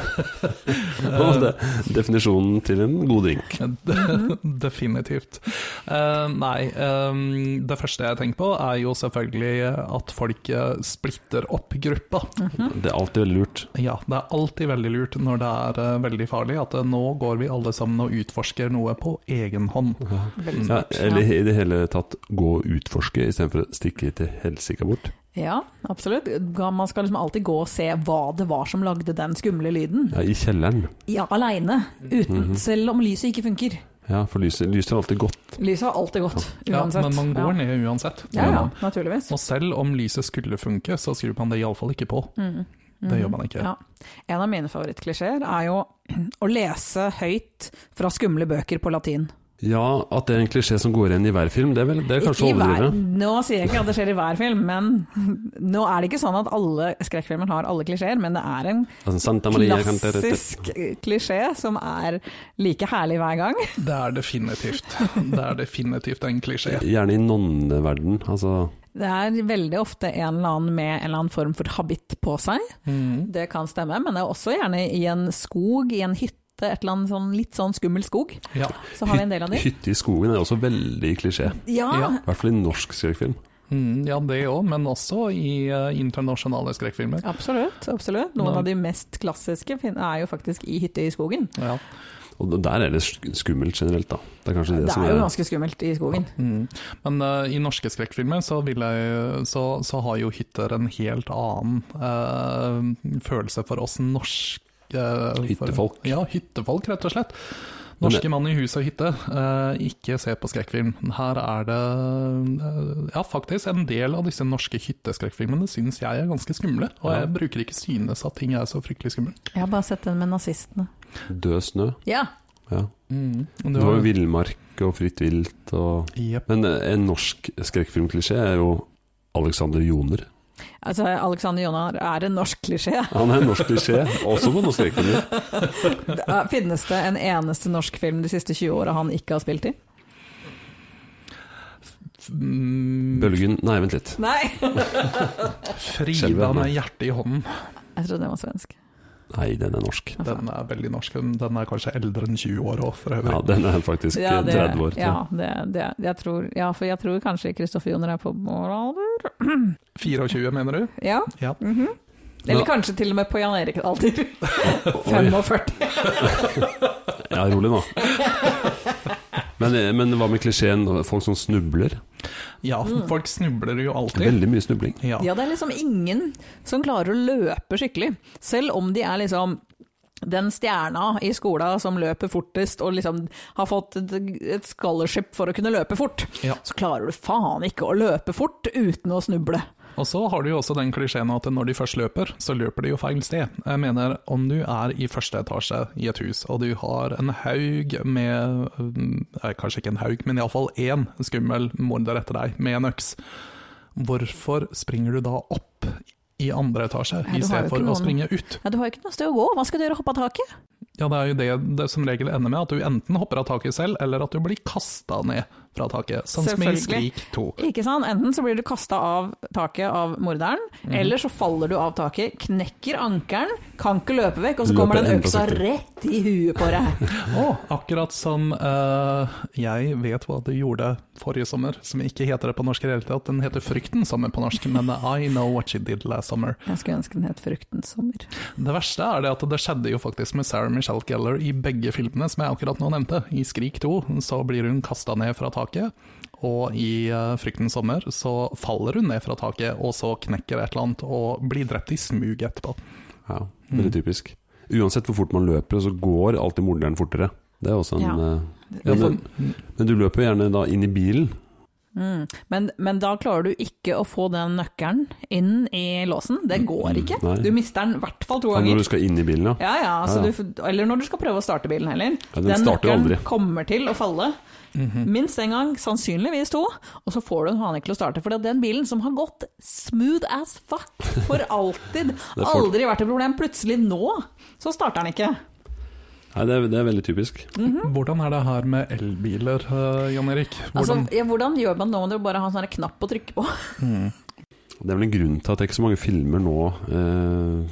S1: Og det, definisjonen til en god drink.
S2: *laughs* Definitivt. Eh, nei, eh, det første jeg tenker på er jo selvfølgelig at folk eh, splitter opp gruppa.
S1: Det er alltid veldig lurt.
S2: Ja, det er alltid veldig lurt når det er eh, veldig farlig at eh, nå går vi alle sammen og utforsker noe på egen hånd.
S3: Veldig
S1: Ja,
S3: smart.
S1: eller
S3: Mm. Ja.
S1: i det hele tatt gå og utforske istedenfor å stikke til helsike bort.
S3: ja, absolutt. Man skal liksom alltid gå og se hva det var som lagde den skumle lyden.
S1: Ja, I kjelleren.
S3: Ja, aleine. Uten, selv om lyset ikke funker.
S1: Ja, for lyset, lyset er alltid godt.
S3: Lyset har alltid gått,
S2: Ja,
S3: uansett.
S2: men man går ned uansett.
S3: Ja, ja, naturligvis.
S2: Og selv om lyset skulle funke, så skrur man det iallfall ikke på. Det gjør man ikke.
S3: Mm. Ja. En av mine favorittklisjeer er jo *clears throat* å lese høyt fra skumle bøker på latin.
S1: Ja, at det er en klisjé som går igjen i hver film, det er, vel, det er kanskje å
S3: Ikke i hver,
S1: overdrive.
S3: nå sier jeg ikke at det skjer i hver film, men *laughs* nå er det ikke sånn at alle skrekkfilmer har alle klisjeer, men det er en
S1: Altså, Santa Maria Klassisk.
S3: klassisk klisjé som er like herlig hver gang.
S2: Det er definitivt Det er definitivt en klisjé.
S3: *laughs*
S1: Gjerne i nonneverden, altså.
S3: Det er veldig ofte en eller annen med en eller annen form for habitt på seg.
S2: Mhm.
S3: Det kan stemme, men det er også gjerne i en skog, i en hytte, et eller annet sånn litt sånn skummel skog.
S2: Ja.
S3: Så har vi en del av de.
S1: Hytte i skogen er også veldig klisjé.
S3: Ja,
S2: Ja.
S1: I hvert fall i norsk skrekkfilm.
S2: Mhm, ja, det òg, men også i eh, internasjonale skrekkfilmer.
S3: absolutt. absolutt. Noen av de mest klassiske fin- er jo faktisk i hytte i skogen.
S2: Ja.
S1: Og der er det sk- skummelt generelt, da. Det er kanskje det,
S3: Det
S1: som
S3: er jo ganske skummelt i skogen.
S2: Mhm. Men eh, i norske skrekkfilmer så, vil jeg, så, så har jo hytter en helt annen eh, følelse for oss norske eh,
S1: Hyttefolk.
S2: For, ja, hyttefolk, rett og slett. Norske mann i hus og hytte, eh, ikke se på skrekkfilm. Her er det eh, Ja, faktisk, en del av disse norske hytteskrekkfilmene syns jeg er ganske skumle. Og
S1: Ja.
S2: jeg bruker ikke synes at ting er så fryktelig skummelt.
S3: Jeg har bare sett den med nazistene.
S1: Død snø.
S3: Ja,
S1: Ja. Mm.
S2: Men
S1: Det var jo villmark og fritt vilt og
S2: Jep.
S1: Men eh, en norsk skrekkfilmklisjé er jo Alexander Joner.
S3: altså Alexander Jonar er en norsk
S1: *laughs*
S3: klisjé.
S1: Han er en norsk klisjé, også på noen skrekkfilmer.
S3: Det er- Finnes det en eneste norsk film de siste 20 åra han ikke har spilt i?
S2: Mm,
S1: Bølgen Nei, vent litt.
S3: Nei!
S2: Frida med hjertet i hånden.
S3: Jeg trodde den var svensk.
S1: Nei, den er norsk.
S2: Den er veldig norsk. Den er kanskje eldre enn 20 år òg, for øvrig.
S1: Ja, den er faktisk eh, 30 år. tror jeg.
S3: ja, det, det, jeg tror, ja, for jeg tror kanskje Kristoffer Joner er på vår alder?
S2: 24, mener du?
S3: Ja.
S2: Ja.
S3: mhm. Eller
S1: Ja.
S3: kanskje til og med på Jan Erik alder.
S1: *laughs*
S3: *laughs*
S1: Oi,
S3: 45.
S1: ja, rolig nå. Men, eh, men hva med klisjeen folk som snubler?
S2: Ja, folk snubler jo alltid.
S1: Veldig mye snubling.
S2: Ja.
S3: Mm. Ja, det er liksom ingen som klarer å løpe skikkelig. Selv om de er liksom den stjerna i skolen som løper fortest og liksom har fått et et scholarship for å kunne løpe fort,
S2: Ja.
S3: så klarer du faen ikke å løpe fort uten å snuble.
S2: Og så har du jo også den klisjeen at når de først løper, så løper de jo feil sted. Jeg mener, om du er i første etasje i et hus, og du har en haug med mm, eh, Kanskje ikke en haug, men iallfall én skummel morder etter deg med en øks. Hvorfor springer du da opp i andre etasje
S3: Ja, du har jo ikke
S2: istedenfor å
S3: noen-
S2: springe ut?
S3: Ja, du har jo ikke noe sted å gå, hva skal du gjøre, hoppe av taket?
S2: Ja, det er jo det det som regel ender med, at du enten hopper av taket selv, eller at du blir kasta ned fra taket. Sånn som i
S3: Selvfølgelig.
S2: Skrik 2.
S3: Ikke sant? Enten så blir du kasta av taket av morderen, eller så faller du av taket, knekker ankelen, kan ikke løpe vekk, og så
S1: Løper
S3: kommer den
S1: enda
S3: øksa
S1: saktere.
S3: rett i huet på deg.
S2: Å, akkurat som eh, Jeg vet hva du gjorde forrige sommer, som ikke heter det på norsk i det hele tatt. Den heter Frykten sommer på norsk, men I know what you did last summer.
S3: Jeg skulle ønske den het Fruktens sommer.
S2: Det verste er det at det skjedde jo faktisk med Sarah Michelle Geller i begge filmene som jeg akkurat nå nevnte. I Skrik 2 så blir hun kasta ned fra taket, og i eh, Frykten sommer så faller hun ned fra taket, og så knekker et eller annet og blir drept i smug etterpå.
S1: Ja, veldig typisk. Uansett hvor fort man løper, så går alltid morderen fortere. Det er også en
S3: Ja.
S1: eh,
S2: Ja,
S1: men,
S2: for,
S1: men du løper jo gjerne da inn i bilen.
S3: Mm. Men, men da klarer du ikke å få den nøkkelen inn i låsen. Det går ikke.
S1: Mm. Nei.
S3: Du mister den i hvert fall to
S1: Ja, når
S3: ganger.
S1: du skal inn i bilen, ja.
S3: Ja, ja, altså
S1: Ja, ja.
S3: Du, f- eller når du skal prøve å starte bilen heller.
S1: Ja, den starter jo aldri.
S3: kommer til å falle. Minst én gang, sannsynligvis to, og så får du den faen ikke til å starte. For det er den bilen som har gått smooth as fuck
S1: *laughs*
S3: for alltid,
S1: er for-
S3: aldri vært et problem, plutselig nå så starter den ikke.
S1: Nei, det er, det er veldig typisk.
S2: hvordan er det her med elbiler, eh, Jan Erik? Hvordan,
S3: Altså, ja, hvordan gjør man det nå om du bare har en sånn her knapp å trykke på? *laughs*
S2: Altså- Mm.
S1: Det er vel en grunn til at det er ikke så mange filmer nå eh,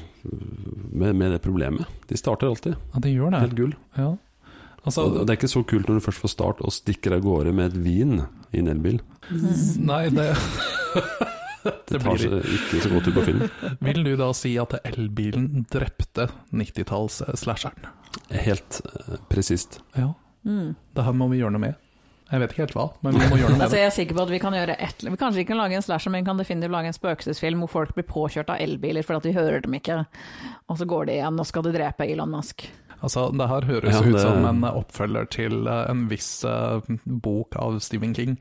S1: med, med det problemet. De starter alltid.
S2: ja, det gjør det.
S1: Helt gull.
S2: Ja. Altså,
S1: Og det er ikke så kult når du først får start og stikker av gårde med et vin i en elbil.
S2: nei, det
S1: Det
S2: Det
S1: tar seg
S2: blir-
S1: ikke så godt ut på film.
S2: Vil du da si at elbilen drepte eh, 90-talls-slasheren?
S1: Helt eh, presist.
S2: Ja.
S3: Mm.
S2: Det her må vi gjøre noe med. Jeg vet ikke helt hva, men vi må gjøre *laughs* noe med
S3: Altså,
S2: det.
S3: jeg er sikker på at vi kan gjøre et Vi kanskje ikke kan lage en slasher, men vi kan definitivt lage en spøkelsesfilm hvor folk blir påkjørt av elbiler fordi at vi hører dem ikke, og så går de igjen og skal de drepe Elon Musk.
S2: Altså, det her høres
S1: Ja,
S2: ut
S1: det-
S2: som en oppfølger til eh, en viss eh, bok av Stephen King.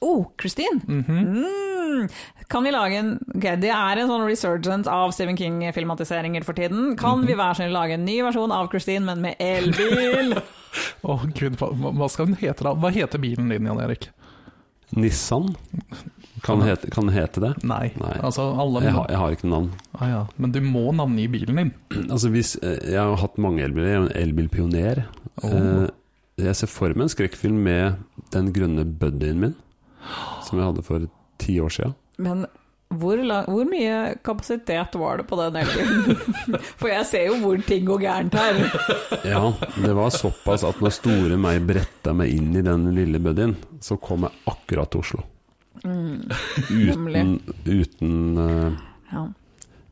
S3: Oh, Christine!
S2: Mhm.
S3: Mm, Hmm, kan vi lage en ok, Det er en sånn resurgence av Stephen King-filmatiseringer for tiden. Kan vi være snill lage en ny versjon av Christine, men med elbil? *laughs*
S2: Å gud, hva, hva skal den hete da? Hva heter bilen din, Jan Erik?
S1: Nissan kan hete, kan hete det.
S2: Nei.
S1: Nei.
S2: Altså, alle
S1: Jeg har, jeg har ikke noe navn. *clears throat*
S2: ah, ja. Men du må navngi bilen din.
S1: Altså hvis, eh, Jeg har hatt mange elbiler, jeg er en elbilpioner.
S2: Oh.
S1: Eh, Jeg ser for meg en skrekkfilm med den grønne buddyen min, som jeg hadde for ti år siden.
S3: Men hvor, la, hvor mye kapasitet var det på den elbilen? *laughs* For jeg ser jo hvor ting går gærent her.
S1: Ja, det var såpass at når store meg bretta meg inn i den lille buddyen, så kom jeg akkurat til Oslo.
S3: Mm,
S1: Uten,
S3: Nemlig.
S1: uten, eh,
S3: ja.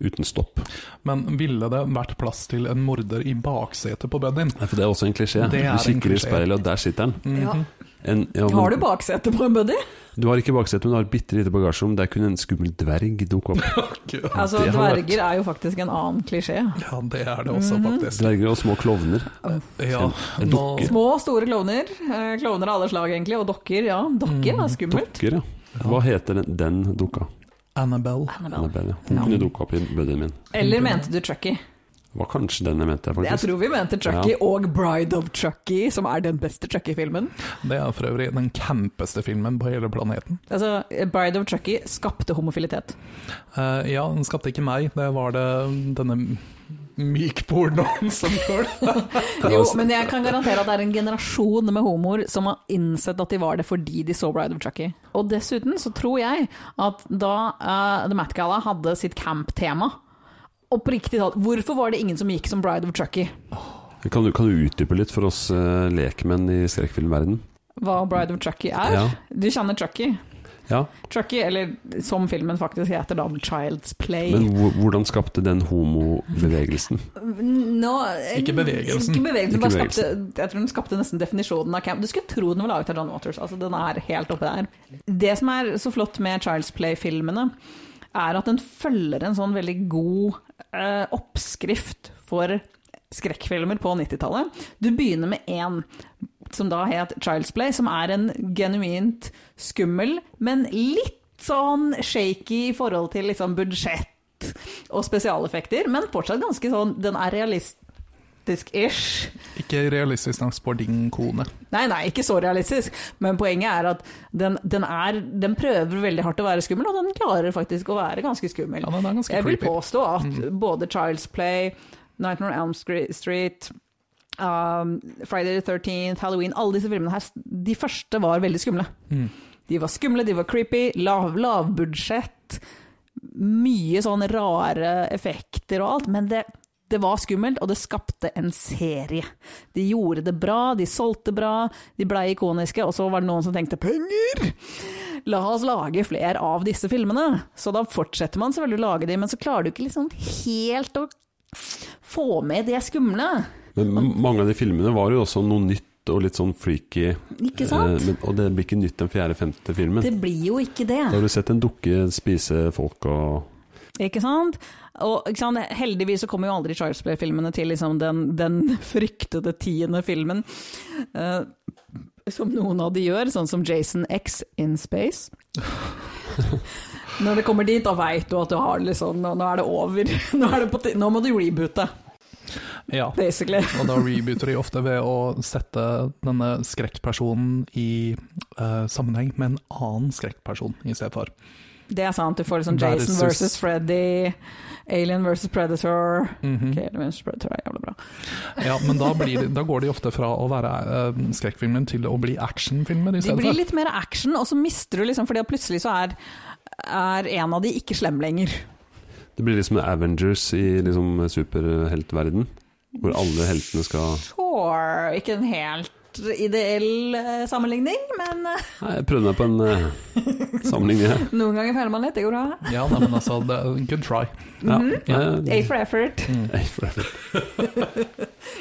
S1: uten stopp.
S2: Men ville det vært plass til en morder i baksetet på Buddyen?
S1: Nei, for det er også en klisjé.
S2: Det
S1: Du
S2: er en
S1: kikker i
S2: klisjé.
S1: speilet, og der sitter den.
S2: Mhm.
S3: Ja.
S1: En, ja, men-
S3: Har du baksete på en buddy?
S1: du har ikke baksete, men du har et bitte lite bagasjerom. Der kunne en skummel dverg dukke opp.
S2: *laughs*
S3: Altså,
S1: Det har vært-
S3: dverger er jo faktisk en annen klisjé.
S2: Ja, det er det også, faktisk.
S1: Dverger og små klovner.
S2: Ja,
S1: En- en
S2: nå-
S1: dukke.
S3: Små og store klovner. eh, Klovner av alle slag, egentlig. Og dokker, ja. Dokker er skummelt.
S1: Dokker, ja. Hva heter den, den dukka?
S2: Annabelle.
S3: Annabelle.
S1: Annabelle. Hun
S3: Ja.
S1: kunne dukka opp i buddyen min.
S3: Eller mente du Chucky?
S1: Var kanskje den jeg mente,
S3: Jeg
S1: faktisk.
S3: tror vi mente Chucky og Bride of Chucky, som er den beste Chucky-filmen.
S2: Det er for øvrig den campeste filmen på hele planeten.
S3: Altså, Bride of Chucky skapte homofilitet.
S2: Eh, ja, den skapte ikke meg, det var det denne mykpornoen *laughs* som gjorde det.
S3: Jo, men jeg kan garantere at det er en generasjon med homoer som har innsett at de var det fordi de så Bride of Chucky. Og dessuten så tror jeg at da eh, The Met Gala hadde sitt camp-tema, oppriktig talt, hvorfor var det ingen som gikk som Bride of Chucky?
S1: Kan du, kan du utdype litt for oss eh, lekmenn i skrekkfilmverden?
S3: Hva Bride of Chucky er?
S1: Ja.
S3: Du kjenner Chucky.
S1: ja.
S3: Chucky, eller som filmen faktisk heter, da, Child's Play.
S1: Men hvor- hvordan skapte den homobevegelsen?
S3: Nå,
S2: Ikke bevegelsen.
S3: Ikke bevegelsen,
S1: Ikke
S3: bare Skapte, jeg tror den skapte nesten definisjonen av camp. Du skulle tro den var laget av John Waters. Altså, den er helt oppe der. Det som er så flott med Child's Play-filmene, er at den følger en sånn veldig god eh, oppskrift for skrekkfilmer på 90-tallet. Du begynner med én som da het Child's Play, som er en genuint skummel, men litt sånn shaky i forhold til liksom budsjett og spesialeffekter, men fortsatt ganske sånn Den er realistisk-ish.
S2: Ikke realistisk nok for din kone.
S3: Nei, nei, ikke så realistisk, men poenget er at den, den, er, den prøver veldig hardt å være skummel, og den klarer faktisk å være ganske skummel.
S2: Ja, den er ganske
S3: Jeg vil
S2: creepy. Mm.
S3: påstå at både Child's Play, Nightmare on Elm Scre- Street, um, Friday the 13th, Halloween, alle disse filmene her, de første var veldig skumle.
S2: Mm.
S3: De var skumle, de var creepy, lav, lavbudsjett, mye sånn rare effekter og alt, men det, det var skummelt, og det skapte en serie. De gjorde det bra, de solgte bra, de blei ikoniske, og så var det noen som tenkte penger! La oss lage flere av disse filmene. Så da fortsetter man selvfølgelig å lage de, men så klarer du ikke liksom helt å få med det skumle.
S1: Men m- mange av de filmene var jo også noe nytt og litt sånn freaky.
S3: Ikke sant?
S1: eh, men, og det blir ikke nytt den fjerde-femte filmen.
S3: Det blir jo ikke det.
S1: Da har du sett en dukke spise folk og
S3: Ikke sant? Og ikke sant? heldigvis så kommer jo aldri Charles Play-filmene til liksom, den, den fryktede tiende filmen. eh, som noen av de gjør, sånn som Jason X in Space. Når det kommer dit, da veit du at du har det litt sånn, nå, nå er det over. *laughs* Nå, er det på ti nå må du reboote,
S2: Ja.
S3: basically.
S2: Og da rebooter de ofte ved å sette denne skrekkpersonen i eh, sammenheng med en annen skrekkperson i stedet for.
S3: Det er sant, du får liksom
S2: Versus-
S3: Jason versus Freddy, Alien versus Predator.
S2: Mhm.
S3: Ok, Alien versus Predator er jævlig bra.
S2: Ja, men da, blir de, da går de ofte fra å være eh, skrekkfilmer til å bli actionfilmer i
S3: De
S2: stedet
S3: blir
S2: for.
S3: litt mer action, og så mister du liksom, fordi at plutselig så er, er en av de ikke slem lenger.
S1: Det blir liksom Avengers i liksom superheltverden, hvor alle heltene skal
S3: Sure, ikke en helt ideell eh, sammenligning, men eh,
S1: Nei, jeg prøvde meg på en eh, sammenligning her.
S3: noen ganger feiler man litt, det går bra.
S2: Ja, nei, men altså, det, good try. Mm.
S1: Ja,
S3: Mhm. A
S1: nei,
S3: for effort. *laughs*
S1: nei, for-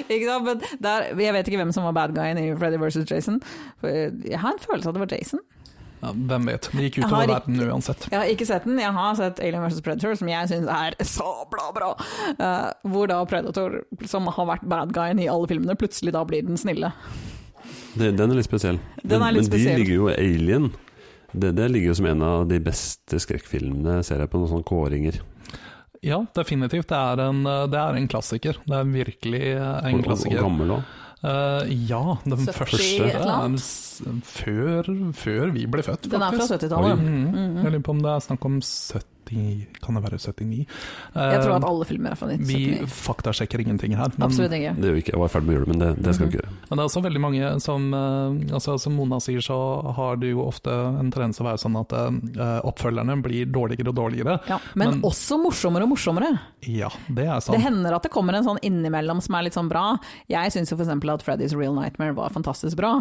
S3: Ikke sant? Men der, jeg vet ikke hvem som var bad guyen i Freddy versus Jason. For Jeg har en følelse av at det var Jason.
S2: Ja, hvem vet. Det gikk
S3: Jeg
S2: utover
S3: har ikke-
S2: verden uansett.
S3: Jeg har ikke sett den, jeg har sett Alien vs. Predator, som jeg syns er sabla bra. Eh, hvor da Predator, som har vært bad guyen i alle filmene, plutselig da blir den snille.
S1: det, den er litt spesiell.
S3: Den er litt
S1: men, men
S3: spesiell.
S1: de ligger jo i Alien. Det, det ligger jo som en av de beste skrekkfilmene, ser jeg på noen sånne kåringer.
S2: Ja, definitivt. Det er en, eh, det er en klassiker. Det er virkelig eh,
S1: Og-
S2: en
S1: og-
S2: klassiker.
S1: Og gammel òg.
S2: Eh, ja, den
S3: 70
S2: første
S1: et
S3: eller
S2: er
S3: annet?
S2: s- før, før vi ble født,
S3: Den er fra
S2: faktisk.
S3: 70-tallet.
S2: Mhm.
S3: Mhm.
S2: Jeg lurer på om det er snakk om 70 Kan det være 79? Eh,
S3: Jeg tror at alle filmer er fra
S2: vi
S3: 1979.
S2: faktasjekker ingenting her. Men,
S3: Absolutt ikke.
S1: Det gjør vi ikke. Jeg var i ferd med å gjøre det, men det, det skal vi ikke gjøre.
S2: men det er også veldig mange som eh, altså, Som Mona sier, så har det jo ofte en tendens til å være sånn at eh, oppfølgerne blir dårligere og dårligere.
S3: Ja, men,
S2: Men-
S3: også morsommere og morsommere.
S2: Ja, det er sant.
S3: Det hender at det kommer en sånn innimellom som er litt sånn bra. Jeg syns f.eks. at 'Freddy's Real Nightmare' var fantastisk bra.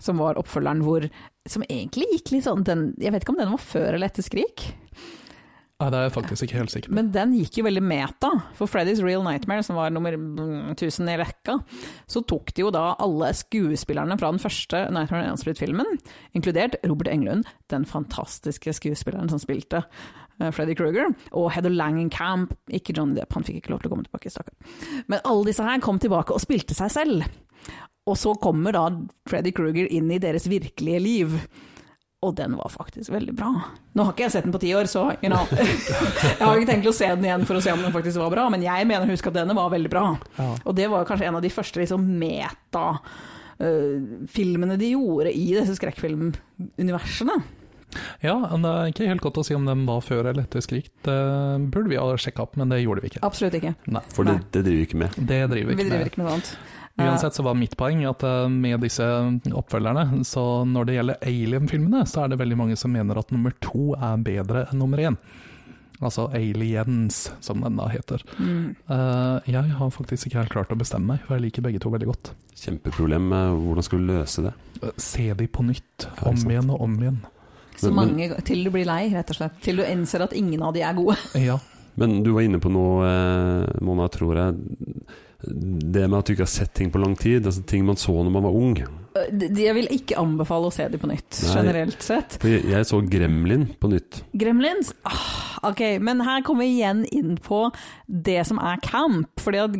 S3: Som var oppfølgeren hvor Som egentlig gikk litt sånn den, Jeg vet ikke om den var før eller etter 'Skrik',
S2: Nei, det er jeg faktisk ikke helt sikker på.
S3: men den gikk jo veldig meta. For 'Freddy's Real Nightmare', som var nummer mm, 1000 i rekka, så tok de jo da alle skuespillerne fra den første Nightmare on Elm Street-filmen, inkludert Robert Englund, den fantastiske skuespilleren som spilte eh, Freddy Krueger, og Heather Langenkamp, ikke Johnny Depp, han fikk ikke lov til å komme tilbake, stakkar. Men alle disse her kom tilbake og spilte seg selv. Og så kommer da Freddy Krueger inn i deres virkelige liv. Og den var faktisk veldig bra. Nå har ikke jeg sett den på ti år, så you
S2: *laughs*
S3: know. jeg har ikke tenkt å se den igjen for å se om den faktisk var bra, men jeg mener å huske at denne var veldig bra.
S2: Ja.
S3: Og det var kanskje en av de første liksom, meta-filmene de gjorde i disse skrekkfilmuniversene.
S2: Ja, men det er ikke helt godt å si om den var før eller etter Skrik. Det burde vi ha sjekka opp, men det gjorde vi ikke.
S3: Absolutt ikke.
S2: Nei,
S1: For
S3: Nei.
S1: det, det driver vi ikke med.
S2: det driver vi
S3: Vi
S2: ikke
S3: driver
S2: med.
S3: ikke med sånt. Eh,
S2: Uansett så var mitt poeng at eh, med disse oppfølgerne, så når det gjelder Alien-filmene, så er det veldig mange som mener at nummer to er bedre enn nummer én. Altså Aliens, som den da heter.
S3: Mm.
S2: Eh, jeg har faktisk ikke helt klart å bestemme meg, for jeg liker begge to veldig godt.
S1: Kjempeproblem med hvordan skal du løse det.
S2: Eh, Se de på nytt,
S1: ikke
S2: om
S1: sant.
S2: igjen og om igjen.
S3: Så
S1: Men-
S3: mange, til du blir lei, rett og slett. Til du innser at ingen av de er gode.
S2: Ja,
S1: Men du var inne på noe, eh, Mona, tror jeg. Det med at du ikke har sett ting på lang tid. Altså ting man så når man var ung.
S3: Eh, de- Jeg vil ikke anbefale å se de på nytt,
S1: Nei.
S3: generelt sett.
S1: For jeg, jeg så Gremlin på nytt.
S3: Gremlins? Ah, ok, men her kommer vi igjen inn på det som er camp. Fordi at,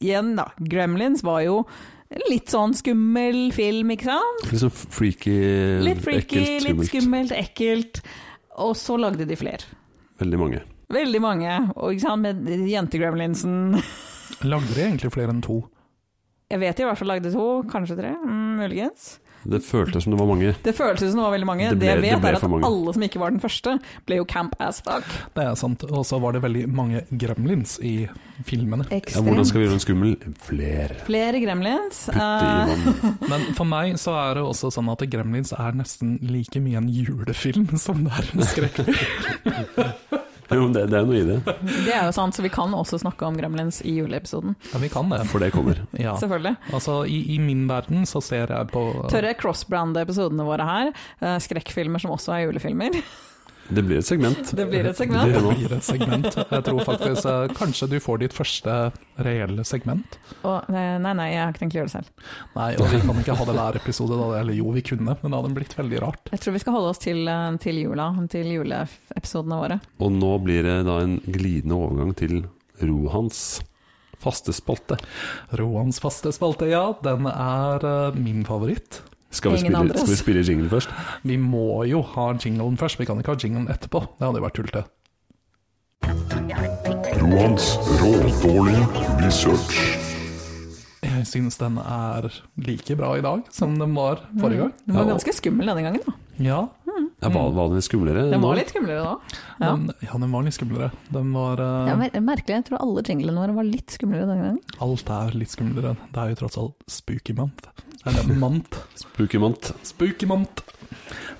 S3: igjen da, Gremlins var jo en litt sånn skummel film, ikke sant?
S1: Liksom freaky,
S3: Litt freaky,
S1: ekkelt,
S3: litt
S1: skummelt.
S3: skummelt, ekkelt. Og så lagde de flere.
S1: Veldig mange.
S3: Veldig mange, og ikke sant, med jente-gremlinsen.
S2: Lagde de egentlig flere enn to?
S3: Jeg vet de i hvert fall lagde to, kanskje tre, mm, muligens.
S1: Det føltes som det var mange.
S3: Det føltes som det var veldig mange.
S1: Det
S3: Det,
S1: ble-
S3: jeg
S1: det
S3: vet,
S1: ble
S3: er at
S1: for mange.
S3: alle som ikke var den første, ble jo camp as fuck.
S2: Det er sant. Og så var det veldig mange gremlins i filmene.
S1: Ja, hvordan skal vi gjøre den skummel? Fler.
S3: Flere gremlins.
S1: Putte i
S3: eh,
S1: vann.
S2: Men for meg så er det også sånn at Gremlins er nesten like mye en julefilm *laughs* som det er en skrekkfilm.
S3: Ah.
S1: *laughs* Jo, men det, det er jo noe i det.
S3: det er jo sant, så vi kan også snakke om gremlins i juleepisoden.
S2: Ja, vi kan det.
S1: For det kommer.
S2: Ja.
S3: Selvfølgelig.
S2: Altså, i, i min verden så ser jeg på
S3: Tør jeg crossbrande episodene våre her? eh, Skrekkfilmer som også er julefilmer.
S2: *laughs*
S1: Det blir et segment.
S3: Det blir et segment.
S2: Det blir et segment. Jeg tror faktisk eh, kanskje du får ditt første reelle segment.
S3: Og, eh, nei, nei, jeg har ikke tenkt å gjøre det selv.
S2: Nei, og vi kan ikke ha det hver episode, da. Eller jo, vi kunne, men det hadde blitt veldig rart.
S3: Jeg tror vi skal holde oss til, eh, til jula, til juleepisodene våre.
S1: Og nå blir det da en glidende overgang til Rohans faste spalte.
S2: Roans faste spalte, ja. Den er eh, min favoritt.
S1: Skal vi,
S3: Ingen
S1: spille,
S3: andres.
S1: skal vi spille jingle først?
S2: Vi må jo ha jinglen først, vi kan ikke ha jinglen etterpå. Det hadde jo vært tullete.
S4: Johans rådårlige research.
S2: Jeg syns den er like bra i dag som den var forrige gang.
S3: Mm. Den var
S1: Ja, og-
S3: ganske skummel denne gangen. Da.
S2: Ja,
S1: Ja, var, var det litt skumlere?
S3: Den
S1: nå?
S3: var litt skumlere da. Ja.
S2: den, ja, den var litt skumlere. Den var eh,
S3: Det er mer- merkelig, jeg tror alle jinglene våre var litt skumlere denne gangen.
S2: Alt er litt skumlere. Det er jo tross alt spooky month. Eller month.
S1: Spooky month.
S2: Spooky month.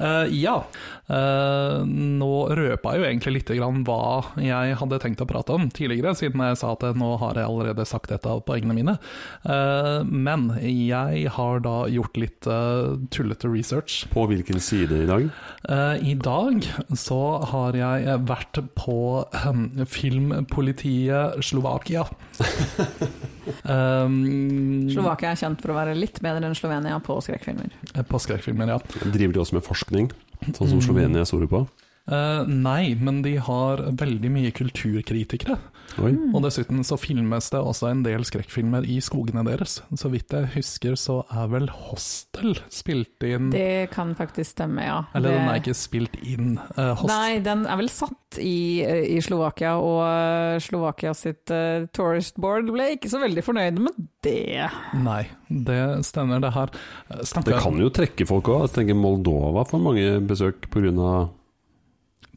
S2: Eh, ja, Eh, nå røpa jeg jo egentlig litt grann hva jeg hadde tenkt å prate om tidligere, siden jeg sa at eh, nå har jeg allerede sagt et av poengene mine. Eh, men jeg har da gjort litt eh, tullete research.
S1: På hvilken side i dag?
S2: Eh, I dag så har jeg vært på eh, Filmpolitiet Slovakia. um,
S3: Slovakia er kjent for å være litt bedre enn Slovenia på skrekkfilmer.
S2: på skrekkfilmer, Eh, ja.
S1: Driver de også med forskning, sånn som Slovenia er store på?
S2: Eh, nei, men de har veldig mye kulturkritikere.
S1: Oi.
S3: Mm.
S2: Og dessuten så filmes det også en del skrekkfilmer i skogene deres. Så vidt jeg husker så er vel Hostel spilt inn
S3: Det kan faktisk stemme, ja.
S2: Mm. Eller
S3: det,
S2: den er ikke spilt inn. eh, host,
S3: Nei, den er vel satt i, eh, i Slovakia, og eh, Slovakia sitt eh, tourist board ble ikke så veldig fornøyd med det.
S2: nei, det stemmer det her. Eh, Snakker
S1: Det kan jo trekke folk òg. Jeg tenker Moldova får mange besøk pga.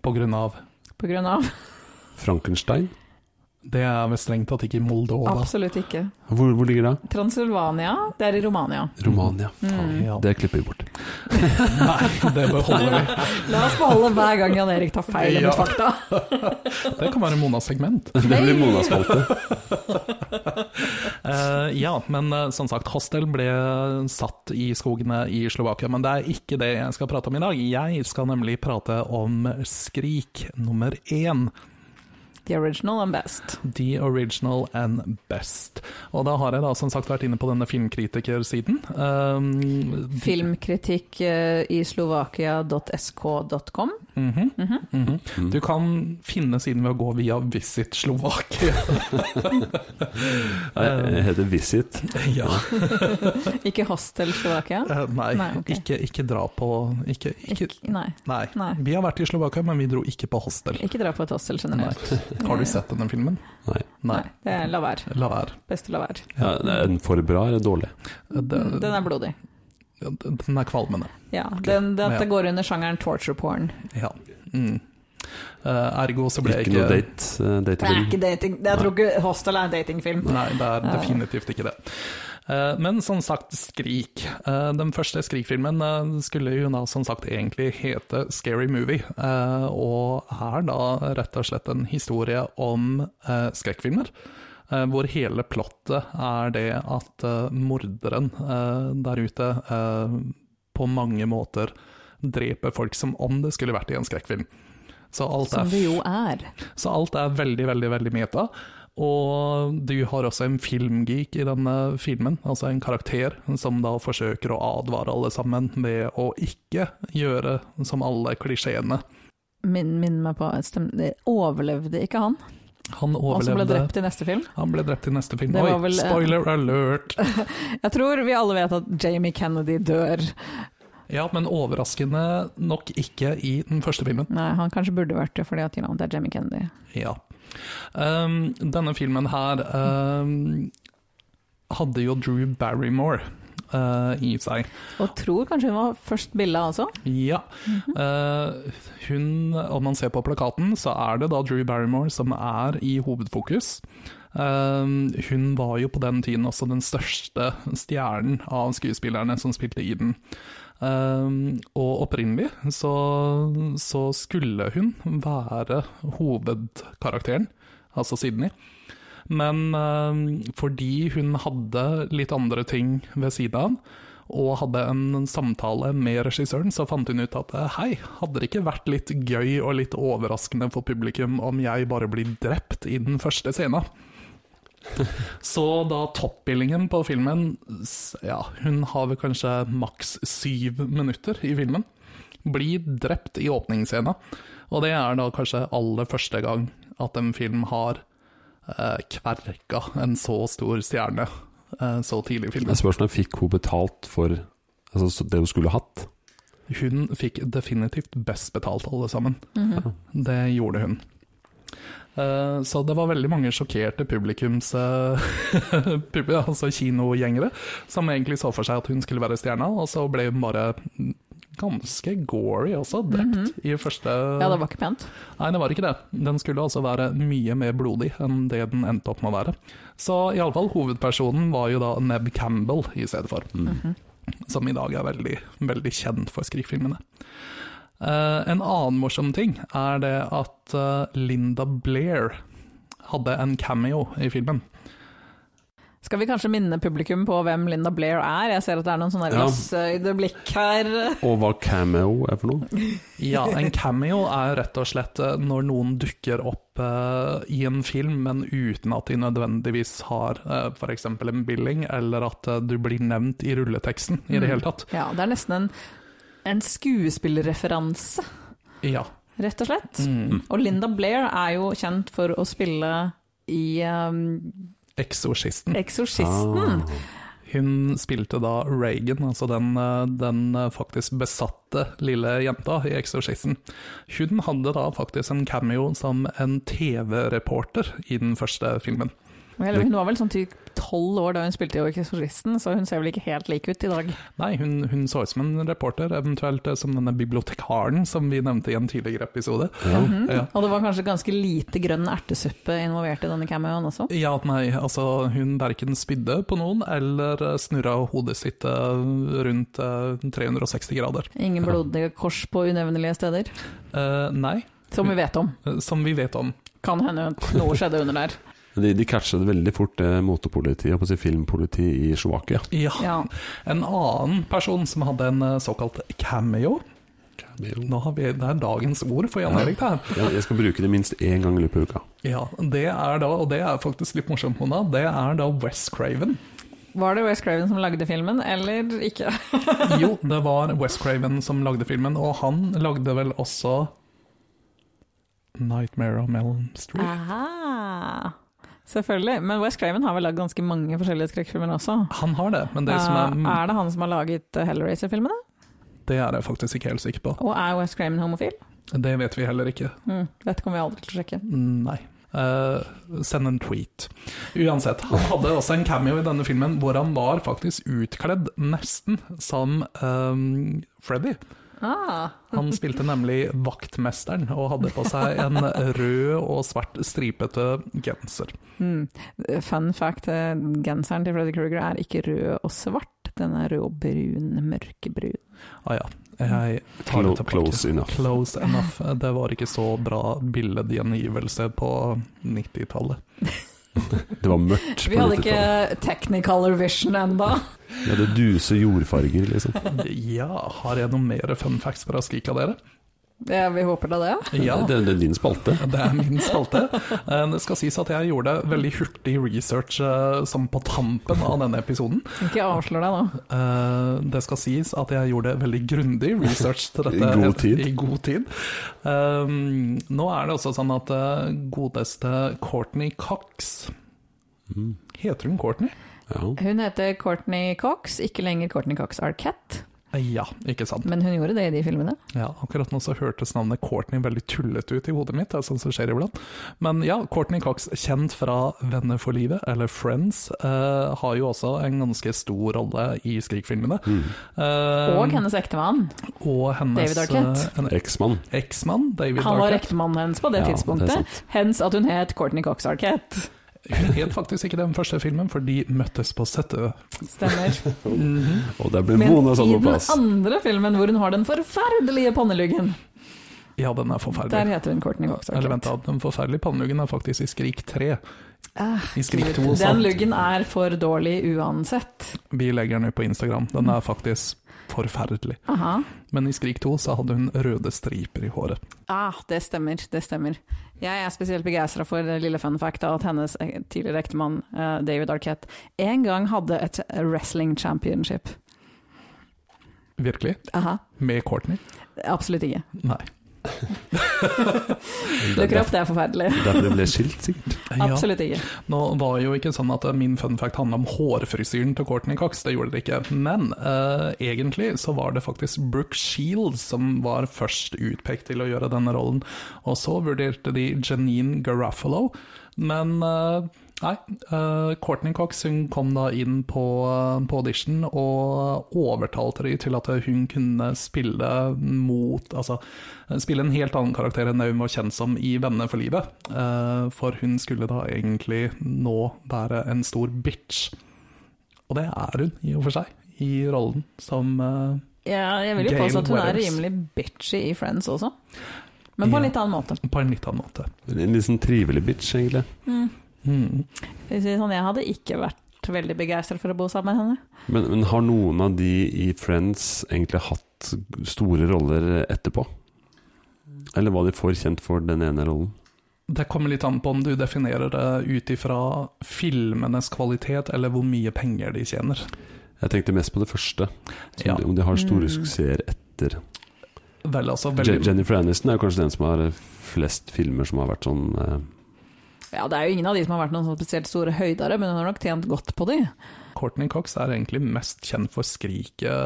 S2: på grunn av
S3: På grunn av
S1: Frankenstein.
S2: Det er vel strengt tatt ikke i Moldova.
S3: Absolutt ikke.
S1: Hvor, hvor ligger det?
S3: Transylvania, det er i Romania.
S1: Romania.
S3: Mm.
S1: Faen.
S2: Ja.
S1: Det klipper vi bort.
S2: Nei, det beholder vi.
S3: La oss beholde hver gang Jan Erik tar feil om
S2: Ja.
S3: et fakta.
S2: Det kan være Monas segment.
S1: *laughs* Det blir Mona-spalte.
S2: Eh, ja, men eh, som sagt, Hostel ble satt i skogene i Slovakia. Men det er ikke det jeg skal prate om i dag. Jeg skal nemlig prate om Skrik nummer én.
S3: The original and best.
S2: The original and best. Og da har jeg da som sagt vært inne på denne filmkritikersiden. Um,
S3: Filmkritikk eh, i slovakia.sk.com.
S2: mhm, mhm. Du kan finne siden ved å gå via Visit Slovakia.
S1: Jeg heter Visit.
S2: ja.
S3: Ikke Hostel Slovakia?
S2: *laughs* Eh, Nei,
S3: Nei, ok.
S2: ikke, ikke dra på ikke, ikke,
S3: Ikke, nei,
S2: Nei.
S3: Nei.
S2: Vi har vært i Slovakia, men vi dro ikke på hostel.
S3: ikke dra på et hostel
S2: Nei.
S3: generelt.
S2: *laughs* Har du sett denne filmen?
S1: Nei.
S3: Nei, det er la være.
S2: La være.
S3: Best å la være.
S1: Ja, er den for bra eller dårlig?
S2: Det-
S3: Den er blodig.
S2: Den er kvalmende.
S3: Ja, den, den,
S2: Ja.
S3: det går under sjangeren torture porn.
S2: Ja. Mm. Eh, ergo så ble jeg
S1: Ikke
S2: ikke
S1: noe date, eh,
S3: Det er ikke
S1: datefilm?
S3: dating. Jeg tror ikke Hostel er en datingfilm.
S2: Nei, det er definitivt ikke det. Eh, Men som sagt, Skrik. Eh, Den første Skrik-filmen eh, skulle jo da som sagt egentlig hete Scary Movie, eh, og er da rett og slett en historie om eh, skrekkfilmer. eh, Hvor hele plottet er det at eh, morderen eh, der ute eh, på mange måter dreper folk som om det skulle vært i en skrekkfilm. Så alt
S3: Som
S2: er
S3: det jo er.
S2: så alt er veldig, veldig, veldig meta. Og du har også en filmgeek i denne filmen, altså en karakter som da forsøker å advare alle sammen ved å ikke gjøre som alle klisjeene.
S3: Minn, minn meg på stem, det Overlevde ikke han?
S2: Han
S3: Han som ble
S2: overlevde.
S3: drept i neste film?
S2: Han ble drept i neste film.
S3: Det var
S2: Oi,
S3: vel, eh,
S2: spoiler alert! *laughs*
S3: Jeg tror vi alle vet at Jamie Kennedy dør.
S2: Ja, men overraskende nok ikke i den første filmen.
S3: Nei, han kanskje burde vært det, fordi at you know, det er Jamie Kennedy.
S2: Ja. Ehm, denne filmen her ehm, hadde jo Drew Barrymore eh, i seg.
S3: Og tror kanskje hun var først Billa også?
S2: Ja. Eh, hun, om man ser på plakaten, så er det da Drew Barrymore som er i hovedfokus. Eh, hun var jo på den tiden også den største stjernen av skuespillerne som spilte i den. Eh, og opprinnelig så, så skulle hun være hovedkarakteren, altså Sydney. Men eh, fordi hun hadde litt andre ting ved siden av, og hadde en samtale med regissøren, så fant hun ut at eh, hei, hadde det ikke vært litt gøy og litt overraskende for publikum om jeg bare blir drept i den første scenen? Så da toppbillingen på filmen, s- ja, hun har vel kanskje maks syv minutter i filmen, blir drept i åpningsscenen. Og det er da kanskje aller første gang at en film har eh, kverka en så stor stjerne eh, så tidlig i filmen.
S1: Jeg spørs når fikk hun betalt for altså, så- det hun skulle hatt.
S2: Hun fikk definitivt best betalt, alle sammen.
S3: Mhm.
S2: Det gjorde hun. Eh, Så det var veldig mange sjokkerte publikums eh, *laughs* publi, altså kinogjengere, som egentlig så for seg at hun skulle være stjerna, og så ble hun bare ganske gory også, drept i første
S3: Mhm. Ja, det var ikke pent.
S2: Nei, det var ikke det. Den skulle altså være mye mer blodig enn det den endte opp med å være. Så iallfall hovedpersonen var jo da Neb Campbell i stedet for.
S1: Mm.
S3: Mhm.
S2: Som i dag er veldig, veldig kjent for skrikfilmene. Eh, en annen morsom ting er det at eh, Linda Blair hadde en cameo i filmen.
S3: Skal vi kanskje minne publikum på hvem Linda Blair er? Jeg ser at det er noen sånne
S1: Ja.
S3: glassøyde blikk her.
S1: Og hva cameo er for noe?
S2: Ja, en *laughs* cameo er rett og slett eh, når noen dukker opp eh, i en film, men uten at de nødvendigvis har eh, for f.eks. en billing, eller at eh, du blir nevnt i Mm. rulleteksten i det hele tatt.
S3: Ja, det er nesten en, en skuespillerreferanse.
S2: Ja.
S3: rett og slett.
S2: Mm.
S3: Og Linda Blair er jo kjent for å spille i um,
S2: Eksorsisten.
S3: Eksorsisten.
S2: Hun spilte da Reagan, altså den, eh, den eh, faktisk besatte lille jenta i Exorcisten. Hun hadde da faktisk en cameo som en TV-reporter i den første filmen.
S3: Eller, Hun var vel sånn typ tolv år da hun spilte i Eksorsisten, så hun ser vel ikke helt lik ut i dag.
S2: Nei, hun, hun så ut som en reporter, eventuelt eh, som denne bibliotekaren som vi nevnte i en tidligere episode.
S1: Ja.
S2: Ja.
S3: Mhm. Og det var kanskje ganske lite grønn ertesuppe involvert i denne cameoen også.
S2: Ja, nei, altså hun verken spydde på noen eller eh, snurra hodet sitt eh, rundt eh, 360 grader.
S3: Ingen blodige kors på unevnelige steder,
S2: Eh, nei,
S3: som vi vet om.
S2: eh, som vi vet om.
S3: Kan hende noe skjedde under der.
S1: De, de catchet veldig fort det motepolitiet, på å si filmpolitiet i Slovakia.
S2: Ja.
S3: Ja.
S2: En annen person som hadde en eh, såkalt cameo Nå har vi, Det er dagens ord for Jan Erik, det her.
S1: Jeg, jeg skal bruke det minst én gang i løpet av uka.
S2: Ja, det er da, og det er faktisk litt morsomt, Mona, det er da West Craven.
S3: Var det Wes Craven som lagde filmen, eller ikke?
S2: Jo, det var West Craven som lagde filmen, og han lagde vel også Nightmare on Melon Street.
S3: Aha. Selvfølgelig. Men Wes Craven har vel lagd ganske mange forskjellige skrekkfilmer også.
S2: Han har det, men det, som
S3: Eh,
S2: er,
S3: er det han som har laget eh, Hellraiser-filmene?
S2: det er jeg faktisk ikke helt sikker på.
S3: Og er Wes Craven homofil?
S2: Det vet vi heller ikke.
S3: Mm, dette kommer vi aldri til å sjekke.
S2: Nei. Eh, send en tweet. Uansett, han hadde også en cameo i denne filmen hvor han var faktisk utkledd nesten som eh, Freddy.
S3: Ah.
S2: Han spilte nemlig vaktmesteren og hadde på seg en rød og svart stripete genser.
S3: Mm. Fun fact, eh, genseren til Freddy Krueger er ikke rød og svart, den er rød og brun, mørkebrun.
S2: Ah ja, jeg tar det
S1: Clo-
S2: tilbake.
S1: Close enough.
S2: Close enough. Det var ikke så bra billedgjengivelse på 90-tallet.
S1: Det var mørkt
S3: Vi
S1: på
S3: hadde
S1: 90-tallet.
S3: ikke Technicolor Vision ennå.
S1: Vi hadde duse jordfarger, *laughs* liksom.
S2: Ja, har jeg noe mer fun facts fra Skika, dere?
S3: Vi håper da det.
S2: Ja.
S1: Det, det er din spalte.
S2: *laughs* Det er min spalte. Eh, Det skal sies at jeg gjorde veldig hurtig research eh, som på tampen av denne episoden.
S3: Ikke avslør deg nå.
S2: Eh, Det skal sies at jeg gjorde veldig grundig research til dette.
S1: I god tid.
S2: I god tid. Um, Nå er det også sånn at eh, godeste Courtney Cox Heter hun Courtney?
S1: Mm. Ja.
S3: Hun heter Courtney Cox, ikke lenger Courtney Cox Arquette,
S2: Eh, Ja, ikke sant.
S3: men hun gjorde det i de filmene.
S2: Ja, akkurat nå så hørtes navnet Courtney veldig tullete ut i hodet mitt, det er sånn som skjer iblant. Men ja, Courtney Cox, kjent fra Venner for livet, eller Friends, eh, har jo også en ganske stor rolle i Skrik-filmene.
S1: Mm.
S2: Eh,
S3: Og hennes ektemann.
S2: og hennes
S3: David Arquette.
S2: eh, en
S1: Eksmann.
S2: Eksmann, David
S3: Han var
S2: Arquette.
S3: ektemannen hennes på det
S1: Ja, det er
S3: tidspunktet,
S1: sant.
S3: hens at hun het Courtney Cox Arquette.
S2: Hun het faktisk ikke den første filmen, for de møttes på settet.
S3: Stemmer. Mhm.
S1: Og der ble
S3: Men
S1: Mona satt
S3: i
S1: på
S3: den
S1: plass.
S3: andre filmen hvor hun har den forferdelige panneluggen,
S2: Ja, den er
S3: der
S2: forferdelig.
S3: heter hun Courtney Cox
S2: Eller vent,
S3: Arquette.
S2: da, den forferdelige panneluggen er faktisk i Skrik 3.
S3: Ah,
S2: I Skrik 2 så
S3: Den luggen er for dårlig uansett.
S2: vi legger den ut på Instagram. Den er faktisk forferdelig.
S3: Aha.
S2: Men i Skrik 2 så hadde hun røde striper i håret.
S3: Ah, det stemmer, det stemmer. Jeg er spesielt begeistra for det lille fun fact at hennes eh, tidligere ektemann eh, David Arquette en gang hadde et wrestling championship.
S2: Virkelig.
S3: Aha,
S2: Med Courtney?
S3: absolutt ikke.
S2: Nei.
S1: Det er
S3: Dukker
S1: der-
S3: opp, det er forferdelig.
S1: Derfor det ble skilt, sikkert.
S2: Ja.
S3: Absolutt ikke.
S2: Nå var jo ikke sånn at min fun fact handla om hårfrisyren til Courtney Cox, det gjorde det ikke. Men eh, egentlig så var det faktisk Brooke Shields som var først utpekt til å gjøre denne rollen. Og så vurderte de Janine Garofalo, men eh, Nei, eh, Courtney Cox hun kom da inn på, eh, på audition og overtalte de til at hun kunne spille mot Altså spille en helt annen karakter enn det hun var kjent som i 'Venner for livet'. Eh, for hun skulle da egentlig nå være en stor bitch. Og det er hun, i og for seg, i rollen som eh,
S3: Ja, jeg vil jo
S2: Gail
S3: påstå at hun er
S2: Weathers.
S3: rimelig bitchy i Friends også, men på en
S2: Ja.
S3: litt annen måte.
S2: på en litt annen måte.
S1: En litt sånn trivelig bitch, egentlig.
S2: Mm.
S3: Skal vi si det sånn, Jeg hadde ikke vært veldig begeistra for å bo sammen med henne.
S1: Men, men har noen av de i Friends egentlig hatt store roller etterpå? Eller var de for kjent for den ene rollen?
S2: Det kommer litt an på om du definerer det ut ifra filmenes kvalitet, eller hvor mye penger de tjener.
S1: Jeg tenkte mest på det første. Som
S2: Ja.
S1: de, om de har store
S3: Mm.
S1: suksesser etter.
S2: Vel, altså,
S1: Je-
S2: veldig
S1: Jennifer Aniston er jo kanskje den som har flest filmer som har vært sånn eh,
S3: Ja, det er jo ingen av de som har vært noen sånn spesielt store høydere, men hun har nok tjent godt på de.
S2: Courtney Cox er egentlig mest kjent for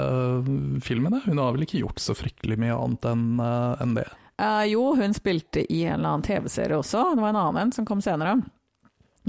S2: Skrike-filmene. Hun har vel ikke gjort så fryktelig mye annet enn eh, enn det.
S3: Eh, jo, hun spilte i en eller annen TV-serie også, det var en annen en som kom senere.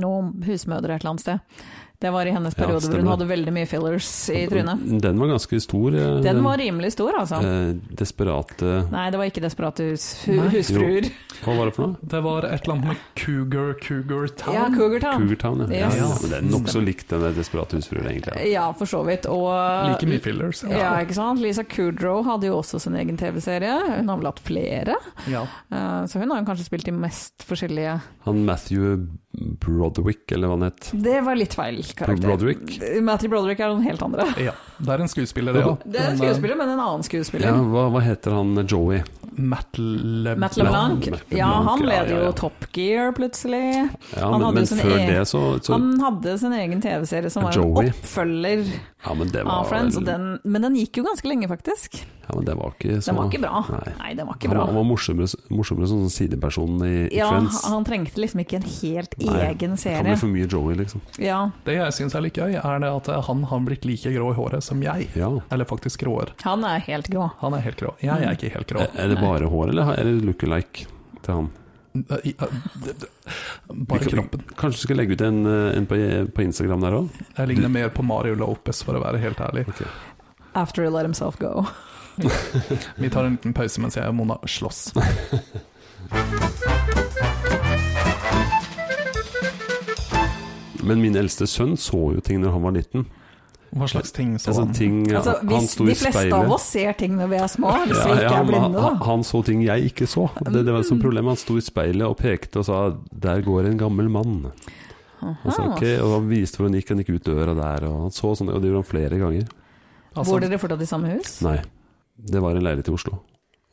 S3: Noen husmødre et eller annet sted. Det var i hennes
S1: Ja,
S3: periode hvor hun
S1: stemmer.
S3: hadde veldig mye fillers i trynet.
S1: Den var ganske stor. eh,
S3: Den var rimelig stor, altså.
S1: eh, Desperate
S3: Nei, det var ikke desperate hus, hu,
S2: Nei.
S3: husfruer.
S1: Hva var det for noe?
S2: Det var et eller annet med Cougar Cougar Town.
S3: Ja, Cougar Town.
S1: Cougar Town, ja.
S3: Yes.
S1: ja, ja. Men det er nokså likt den der Desperate husfruen, egentlig.
S3: Ja, for så vidt. Og
S2: like mye fillers.
S3: Ja, ikke sant? Lisa Kudrow hadde jo også sin egen TV-serie. Hun har vel hatt flere,
S2: Ja.
S3: eh, så hun har jo kanskje spilt i mest forskjellige
S1: Ja. Han Matthew Broderick, eller hva han het.
S3: Det var litt feil karakter. Eh,
S1: Broderick?
S3: Matthew Broderick er noen helt andre.
S2: ja. Det er en skuespiller, det òg.
S3: Det er en skuespiller, men en annen
S1: Ja,
S3: skuespiller.
S1: hva, hva heter han eh, Joey?
S2: eh, Matt LeBlanc.
S3: Matt LeBlanc.
S1: Matt LeBlanc,
S3: Ja, han
S1: ja,
S3: leder
S1: ja,
S3: jo
S1: ja.
S3: Top Gear, plutselig.
S1: Ja, men,
S3: Han hadde
S1: men
S3: jo sin
S1: før
S3: egen-
S1: det så, så
S3: Han hadde sin egen TV-serie som var en
S1: Joey.
S3: oppfølger
S1: Ja, men det var,
S3: av Friends,
S1: vel-
S3: og den, men den gikk jo ganske lenge, faktisk.
S1: ja, men det var ikke så
S3: Den var ikke bra.
S1: Nei.
S3: Nei, den var ikke
S1: Han var, han
S3: bra.
S1: var morsommere, morsommere som sånn sideperson i, i
S3: Ja,
S1: Friends.
S3: han trengte liksom ikke en helt
S1: Nei,
S3: egen
S1: Det kan bli
S3: serie.
S1: for mye Joey, liksom.
S3: Ja,
S2: Det jeg syns er litt gøy, er det at han har blitt like grå i håret som jeg.
S1: Ja.
S2: Eller faktisk gråere.
S3: han er helt grå.
S2: Han er helt grå. Jeg er ikke helt grå.
S1: Er er det bare hår, eller er det look-alike til han?
S2: Eh, i- eh, d- d- Bare
S1: Vi kan-
S2: kroppen.
S1: Kanskje du skal legge ut en, eh, en på, på Instagram der òg?
S2: Jeg ligner mer på Mario Lopez, for å være helt ærlig.
S3: After he let himself go.
S2: Vi tar en liten pause mens jeg og Mona slåss.
S1: Men min eldste sønn så jo ting når han var liten.
S2: Hva slags ting så
S1: Altså,
S2: han?
S1: ting,
S3: Altså,
S1: han- han
S3: hvis
S1: sto
S3: de
S1: i
S3: fleste
S1: speilet.
S3: av oss ser ting når vi er små, hvis vi
S1: Ja,
S3: ikke
S1: ja,
S3: er
S1: men han,
S3: blinde,
S1: han,
S3: da. Mm.
S1: han så ting jeg ikke så. Det, det var et sånt problem. Han sto i speilet og pekte og sa 'der går en gammel mann'. Han sa
S3: Aha.
S1: ok, og han viste hvor han gikk, han gikk ut døra der, og han så sånn, og det gjorde han flere ganger.
S2: Altså,
S3: Bor dere fortsatt i samme hus?
S1: Nei, det var en leilighet i Oslo.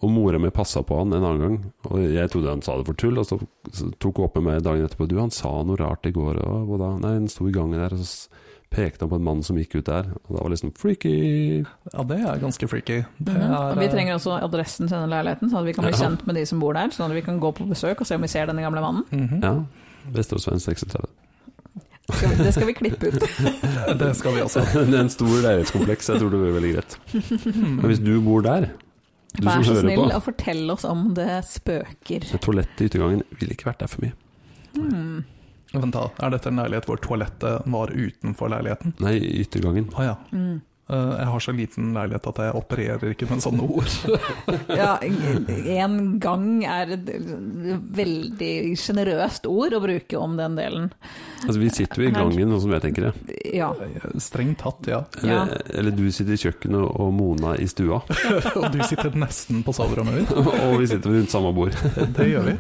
S1: Og mora mi passa på han en annen gang, og jeg trodde han sa det for tull, og så så tok hun opp med meg dagen etterpå 'du, han sa noe rart i går', og hva da? Nei, han sto i gangen der, og så s- pekte han på en mann som gikk ut der, og da var det liksom 'freaky'.
S2: ja, det er ganske freaky. Det
S3: Mhm.
S2: er,
S3: Og Vi
S2: eh,
S3: trenger også adressen til denne leiligheten, sånn at vi kan bli
S1: Ja.
S3: kjent med de som bor der. Sånn at vi kan gå på besøk og se om vi ser denne gamle mannen.
S2: mhm.
S1: Ja. Vesteråsveien 36.
S3: Skal- Det skal vi klippe
S1: *laughs*
S3: ut.
S2: Det skal vi også.
S1: Det er en stor leilighetskompleks, jeg tror det blir veldig greit. Men hvis du bor der, du
S3: Vær
S1: som
S3: så
S1: hører
S3: snill
S1: på
S3: og fortell oss om det spøker.
S1: Toalettet i yttergangen ville ikke vært der for mye.
S3: Hmm.
S2: Vent da, Er dette en leilighet hvor toalettet var utenfor leiligheten?
S1: Nei, i yttergangen.
S2: Å ja.
S3: Mm.
S2: Eh, Jeg har så liten leilighet at jeg opererer ikke med sånne ord.
S3: Ja, en gang er et veldig sjenerøst ord å bruke om den delen.
S1: Altså, vi sitter jo i gangen, sånn som jeg tenker det.
S2: Ah.
S3: Ja.
S2: eh, Strengt tatt, ja. *laughs*
S1: Eller, eller du sitter i kjøkkenet og Mona i stua, *laughs*
S2: Og du sitter nesten på soverommet mitt.
S1: og vi sitter rundt samme bord.
S2: *laughs* Det gjør vi.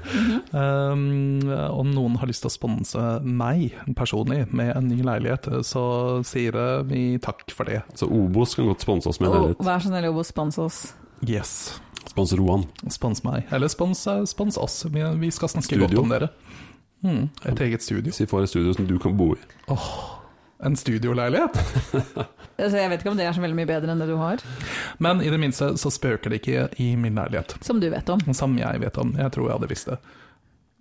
S2: Um, om noen har lyst til å sponse meg personlig med en ny leilighet, eh, så sier det vi takk for det.
S1: Så Obos kan godt sponse oss med en
S3: Og
S1: leilighet.
S3: vær så snill og spons oss.
S2: Yes.
S1: Spons Roan.
S2: Spons meg. Eller spons, eh, spons oss. Vi, vi skal snakke
S1: Studio.
S2: godt om dere. Mm, et eget studio.
S1: Hvis vi får et studio som du kan bo i.
S2: En studioleilighet.
S3: Altså, jeg vet ikke om det er så veldig mye bedre enn det du har,
S2: Men i det minste så spøker det ikke i min leilighet.
S3: som du vet om.
S2: Som jeg vet om. Jeg tror jeg hadde visst det.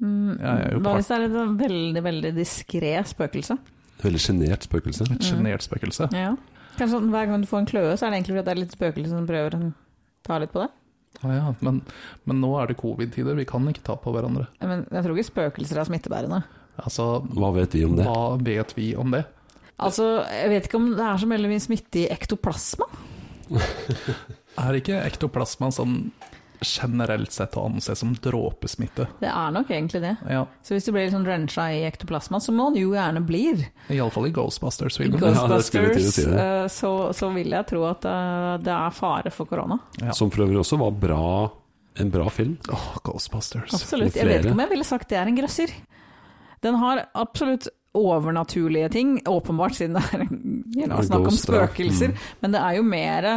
S3: Mm,
S2: Jeg er jo
S3: Hva
S2: part-
S3: hvis det er et sånn veldig, veldig diskré spøkelse?
S1: Veldig sjenert spøkelse.
S2: Et sjenert spøkelse.
S3: Ja. Kanskje sånn, Hver gang du får en kløe, så er det egentlig fordi det er litt spøkelse som prøver å ta litt på deg.
S2: Å ja, men, men nå er det covid-tider, vi kan ikke ta på hverandre.
S3: Men jeg tror ikke spøkelser er smittebærende.
S2: Altså,
S1: Hva vet vi om det?
S2: hva vet vi om det?
S3: Altså, Jeg vet ikke om det er så veldig mye smitte i ektoplasma.
S2: Er ikke ektoplasma sånn generelt sett å anse som dråpesmitte?
S3: Det er nok egentlig det.
S2: Ja,
S3: Så hvis du blir litt sånn drencha i ektoplasma, som man jo gjerne blir,
S2: iallfall i Ghostbusters-filmen.
S1: Ja, det skulle jeg til å
S3: Ghostbusters,
S1: si det.
S3: eh, så, så vil jeg tro at eh, det er fare for korona.
S2: Ja.
S1: Som for øvrig også var bra, en bra film.
S2: Åh, Ghostbusters.
S3: Absolutt.
S1: Med
S3: Jeg vet
S1: flere.
S3: ikke om jeg ville sagt det er en grøsser. Den har absolutt overnaturlige ting, åpenbart siden det er you know,
S1: Ja,
S3: snakk om
S1: ghost, Mm. ja.
S3: spøkelser. Men det er jo mer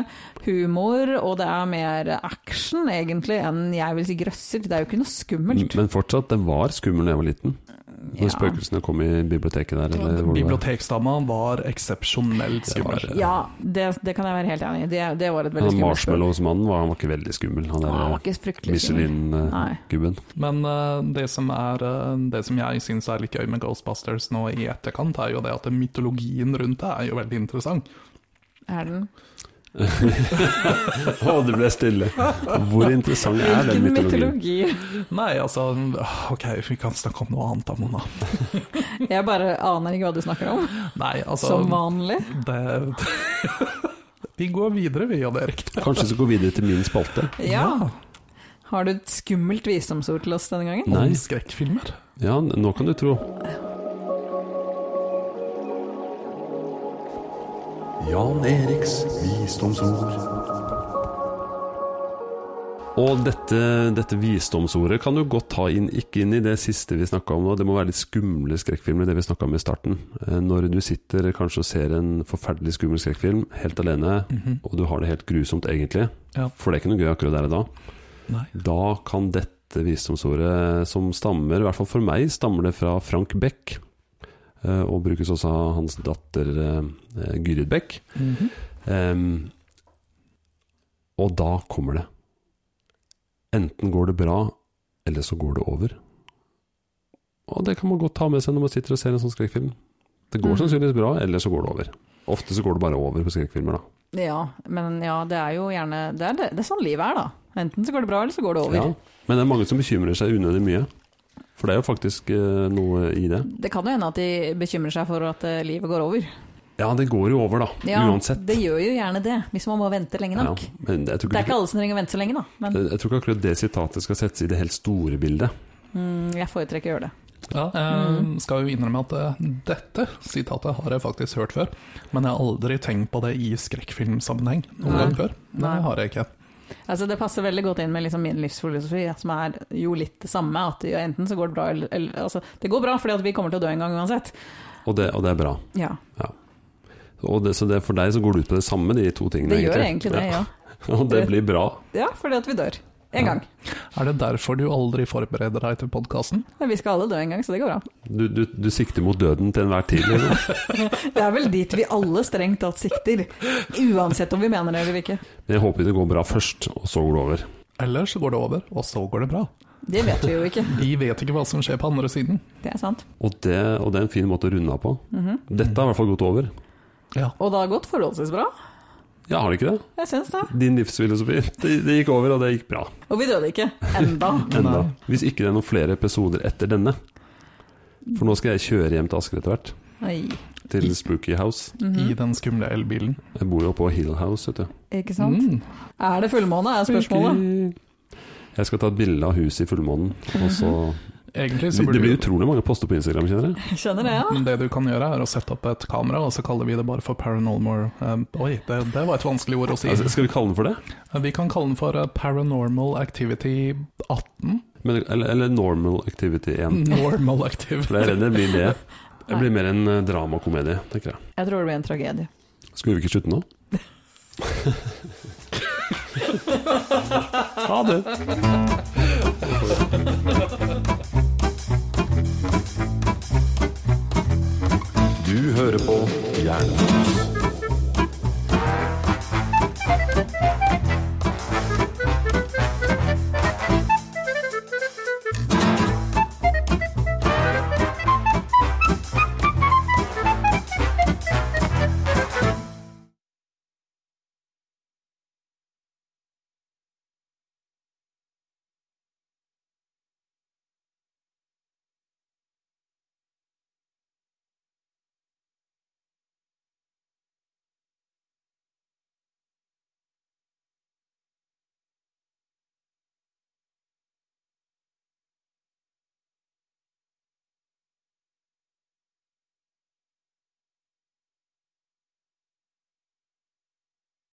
S3: humor, og det er mer action egentlig enn jeg vil si grøsser. Det er jo ikke noe skummelt.
S1: Mm, Men fortsatt, den var skummel da jeg var liten. Når spøkelsene kom i biblioteket der? Eller hvor det var.
S2: Bibliotekdama var eksepsjonelt
S1: Det var-
S2: skummel.
S3: Ja, det, det kan jeg være helt enig i. Det, det var et
S1: Han
S3: veldig skummelt spørsmål.
S1: marshmallowsmannen var, han var ikke veldig skummel. Han
S3: Han var
S1: der eh,
S3: ikke fryktelig skummel. Nei.
S1: Michelin-gubben.
S2: Men eh, det, som er, eh, det som jeg syns er litt gøy med Ghostbusters nå i etterkant, er jo det at mytologien rundt det er jo veldig interessant.
S3: Er den?
S1: Å, det ble stille! Hvor interessant er den
S3: Hvilken
S1: mytologien?
S3: mytologi?
S2: Nei, altså OK, vi kan snakke om noe annet da, Mona.
S3: Jeg bare aner ikke hva du snakker om,
S2: Nei, altså
S3: som vanlig.
S2: det, *laughs* Vi går videre, vi, Jan Erik.
S1: Kanskje vi skal gå videre til min spalte?
S3: Ja. Har du et skummelt visdomsord til oss denne gangen?
S1: Nei.
S2: Om skrekkfilmer.
S1: Ja, nå kan du tro.
S4: Jan Eriks visdomsord.
S1: Og dette, dette visdomsordet kan du godt ta inn, ikke inn i det siste vi snakka om nå. Det må være litt skumle skrekkfilmer, det vi snakka om i starten. Eh, Når du sitter kanskje og ser en forferdelig skummel skrekkfilm helt alene,
S2: Mhm.
S1: og du har det helt grusomt egentlig,
S2: Ja.
S1: for det er ikke noe gøy akkurat der og da,
S2: Nei.
S1: da kan dette visdomsordet som stammer, i hvert fall for meg, stammer det fra Frank Beck, eh, og brukes også av hans datter eh, eh, Gyrid Beck.
S2: Mhm.
S1: Ehm, og da kommer det. Enten går det bra, eller så går det over. Og det kan man godt ta med seg når man sitter og ser en sånn skrekkfilm. Det går
S3: Mhm.
S1: sannsynligvis bra, eller så går det over. Ofte så går det bare over på skrekkfilmer, da.
S3: Ja, men ja, det er jo gjerne Det er, det, det er sånn livet er, da. Enten så går det bra, eller så går det over.
S1: Ja. Men det er mange som bekymrer seg unødig mye. For det er jo faktisk eh, noe i det.
S3: Det kan jo hende at de bekymrer seg for at eh, livet går over.
S1: Ja, det går jo over, da.
S3: Ja,
S1: uansett.
S3: Det gjør jo gjerne det, hvis man må vente lenge nok.
S1: Ja, men jeg tror,
S3: Det er ikke
S1: ikke,
S3: alle som trenger å vente så lenge, da. Men
S1: jeg tror ikke akkurat det sitatet skal settes i det helt store bildet.
S3: mm, jeg foretrekker å gjøre det.
S2: Ja, jeg
S3: Mhm.
S2: skal jo innrømme at eh, dette sitatet har jeg faktisk hørt før, men jeg har aldri tenkt på det i skrekkfilmsammenheng noen
S3: Nei.
S2: gang før. Det
S3: Nei.
S2: har jeg ikke.
S3: Altså, det passer veldig godt inn med liksom min livsfilosofi, ja, som er jo litt det samme. At ja, enten så går det bra, eller, eller altså, Det går bra, fordi at vi kommer til å dø en gang uansett.
S1: Og det, og det er bra.
S3: Ja,
S1: Og det, så det, for deg så går det ut på det samme, de to tingene?
S3: det gjør egentlig det, ja.
S1: Og det blir bra.
S3: Ja, fordi at vi dør. En
S1: Ja.
S3: gang.
S2: Er det derfor du aldri forbereder deg til podkasten?
S3: Men vi skal alle dø en gang, så det går bra.
S1: Du, du, du sikter mot døden til enhver tid.
S3: *laughs*
S1: liksom.
S3: Det er vel dit vi alle strengt tatt sikter. Uansett om vi mener det eller ikke.
S1: Men jeg håper det går bra først, og så går det over.
S2: Eller så går det over, og så går det bra.
S3: Det vet vi jo ikke.
S2: Vi vet ikke hva som skjer på andre siden.
S3: Det er sant. Mhm.
S1: Og det, og det er en fin måte å runde av på. Dette har i hvert fall gått over.
S2: Ja.
S3: Og det har gått forholdsvis bra.
S1: Ja, har det ikke det?
S3: Jeg syns det.
S1: Din livsfilosofi. Det, det gikk over, og det gikk bra.
S3: Og vi døde ikke. Enda.
S1: Enda.
S2: Nei.
S1: Hvis ikke det er noen flere episoder etter denne. For nå skal jeg kjøre hjem til Asker etter hvert.
S3: Oi.
S1: Til Spooky House.
S3: Mhm.
S2: I den skumle elbilen.
S1: Jeg bor jo på Hill House, vet du.
S3: Ikke sant?
S2: Mm.
S3: Er det fullmåne, er spørsmålet.
S1: Jeg skal ta et bilde av huset i fullmånen. Og så
S3: Mhm.
S2: Egentlig så
S1: Det
S2: burde
S1: blir
S2: du
S1: utrolig mange poster på Instagram, kjenner jeg.
S3: Jeg skjønner det, ja.
S2: det du kan gjøre, er å sette opp et kamera, og så kaller vi det bare for paranormal um, Oi, det, det var et vanskelig ord å si.
S1: Altså, skal vi kalle den for det?
S2: Vi kan kalle den for eh, Paranormal Activity 18.
S1: Men, eller, eller Normal Activity 1.
S2: Normal Activity.
S1: For jeg er redd det blir det.
S3: *laughs*
S1: Det blir mer en eh, dramakomedie, tenker jeg.
S3: Jeg tror det blir en tragedie.
S1: Skulle vi ikke slutte nå?
S2: *laughs* Ha det.
S4: Du hører på Jernbanen.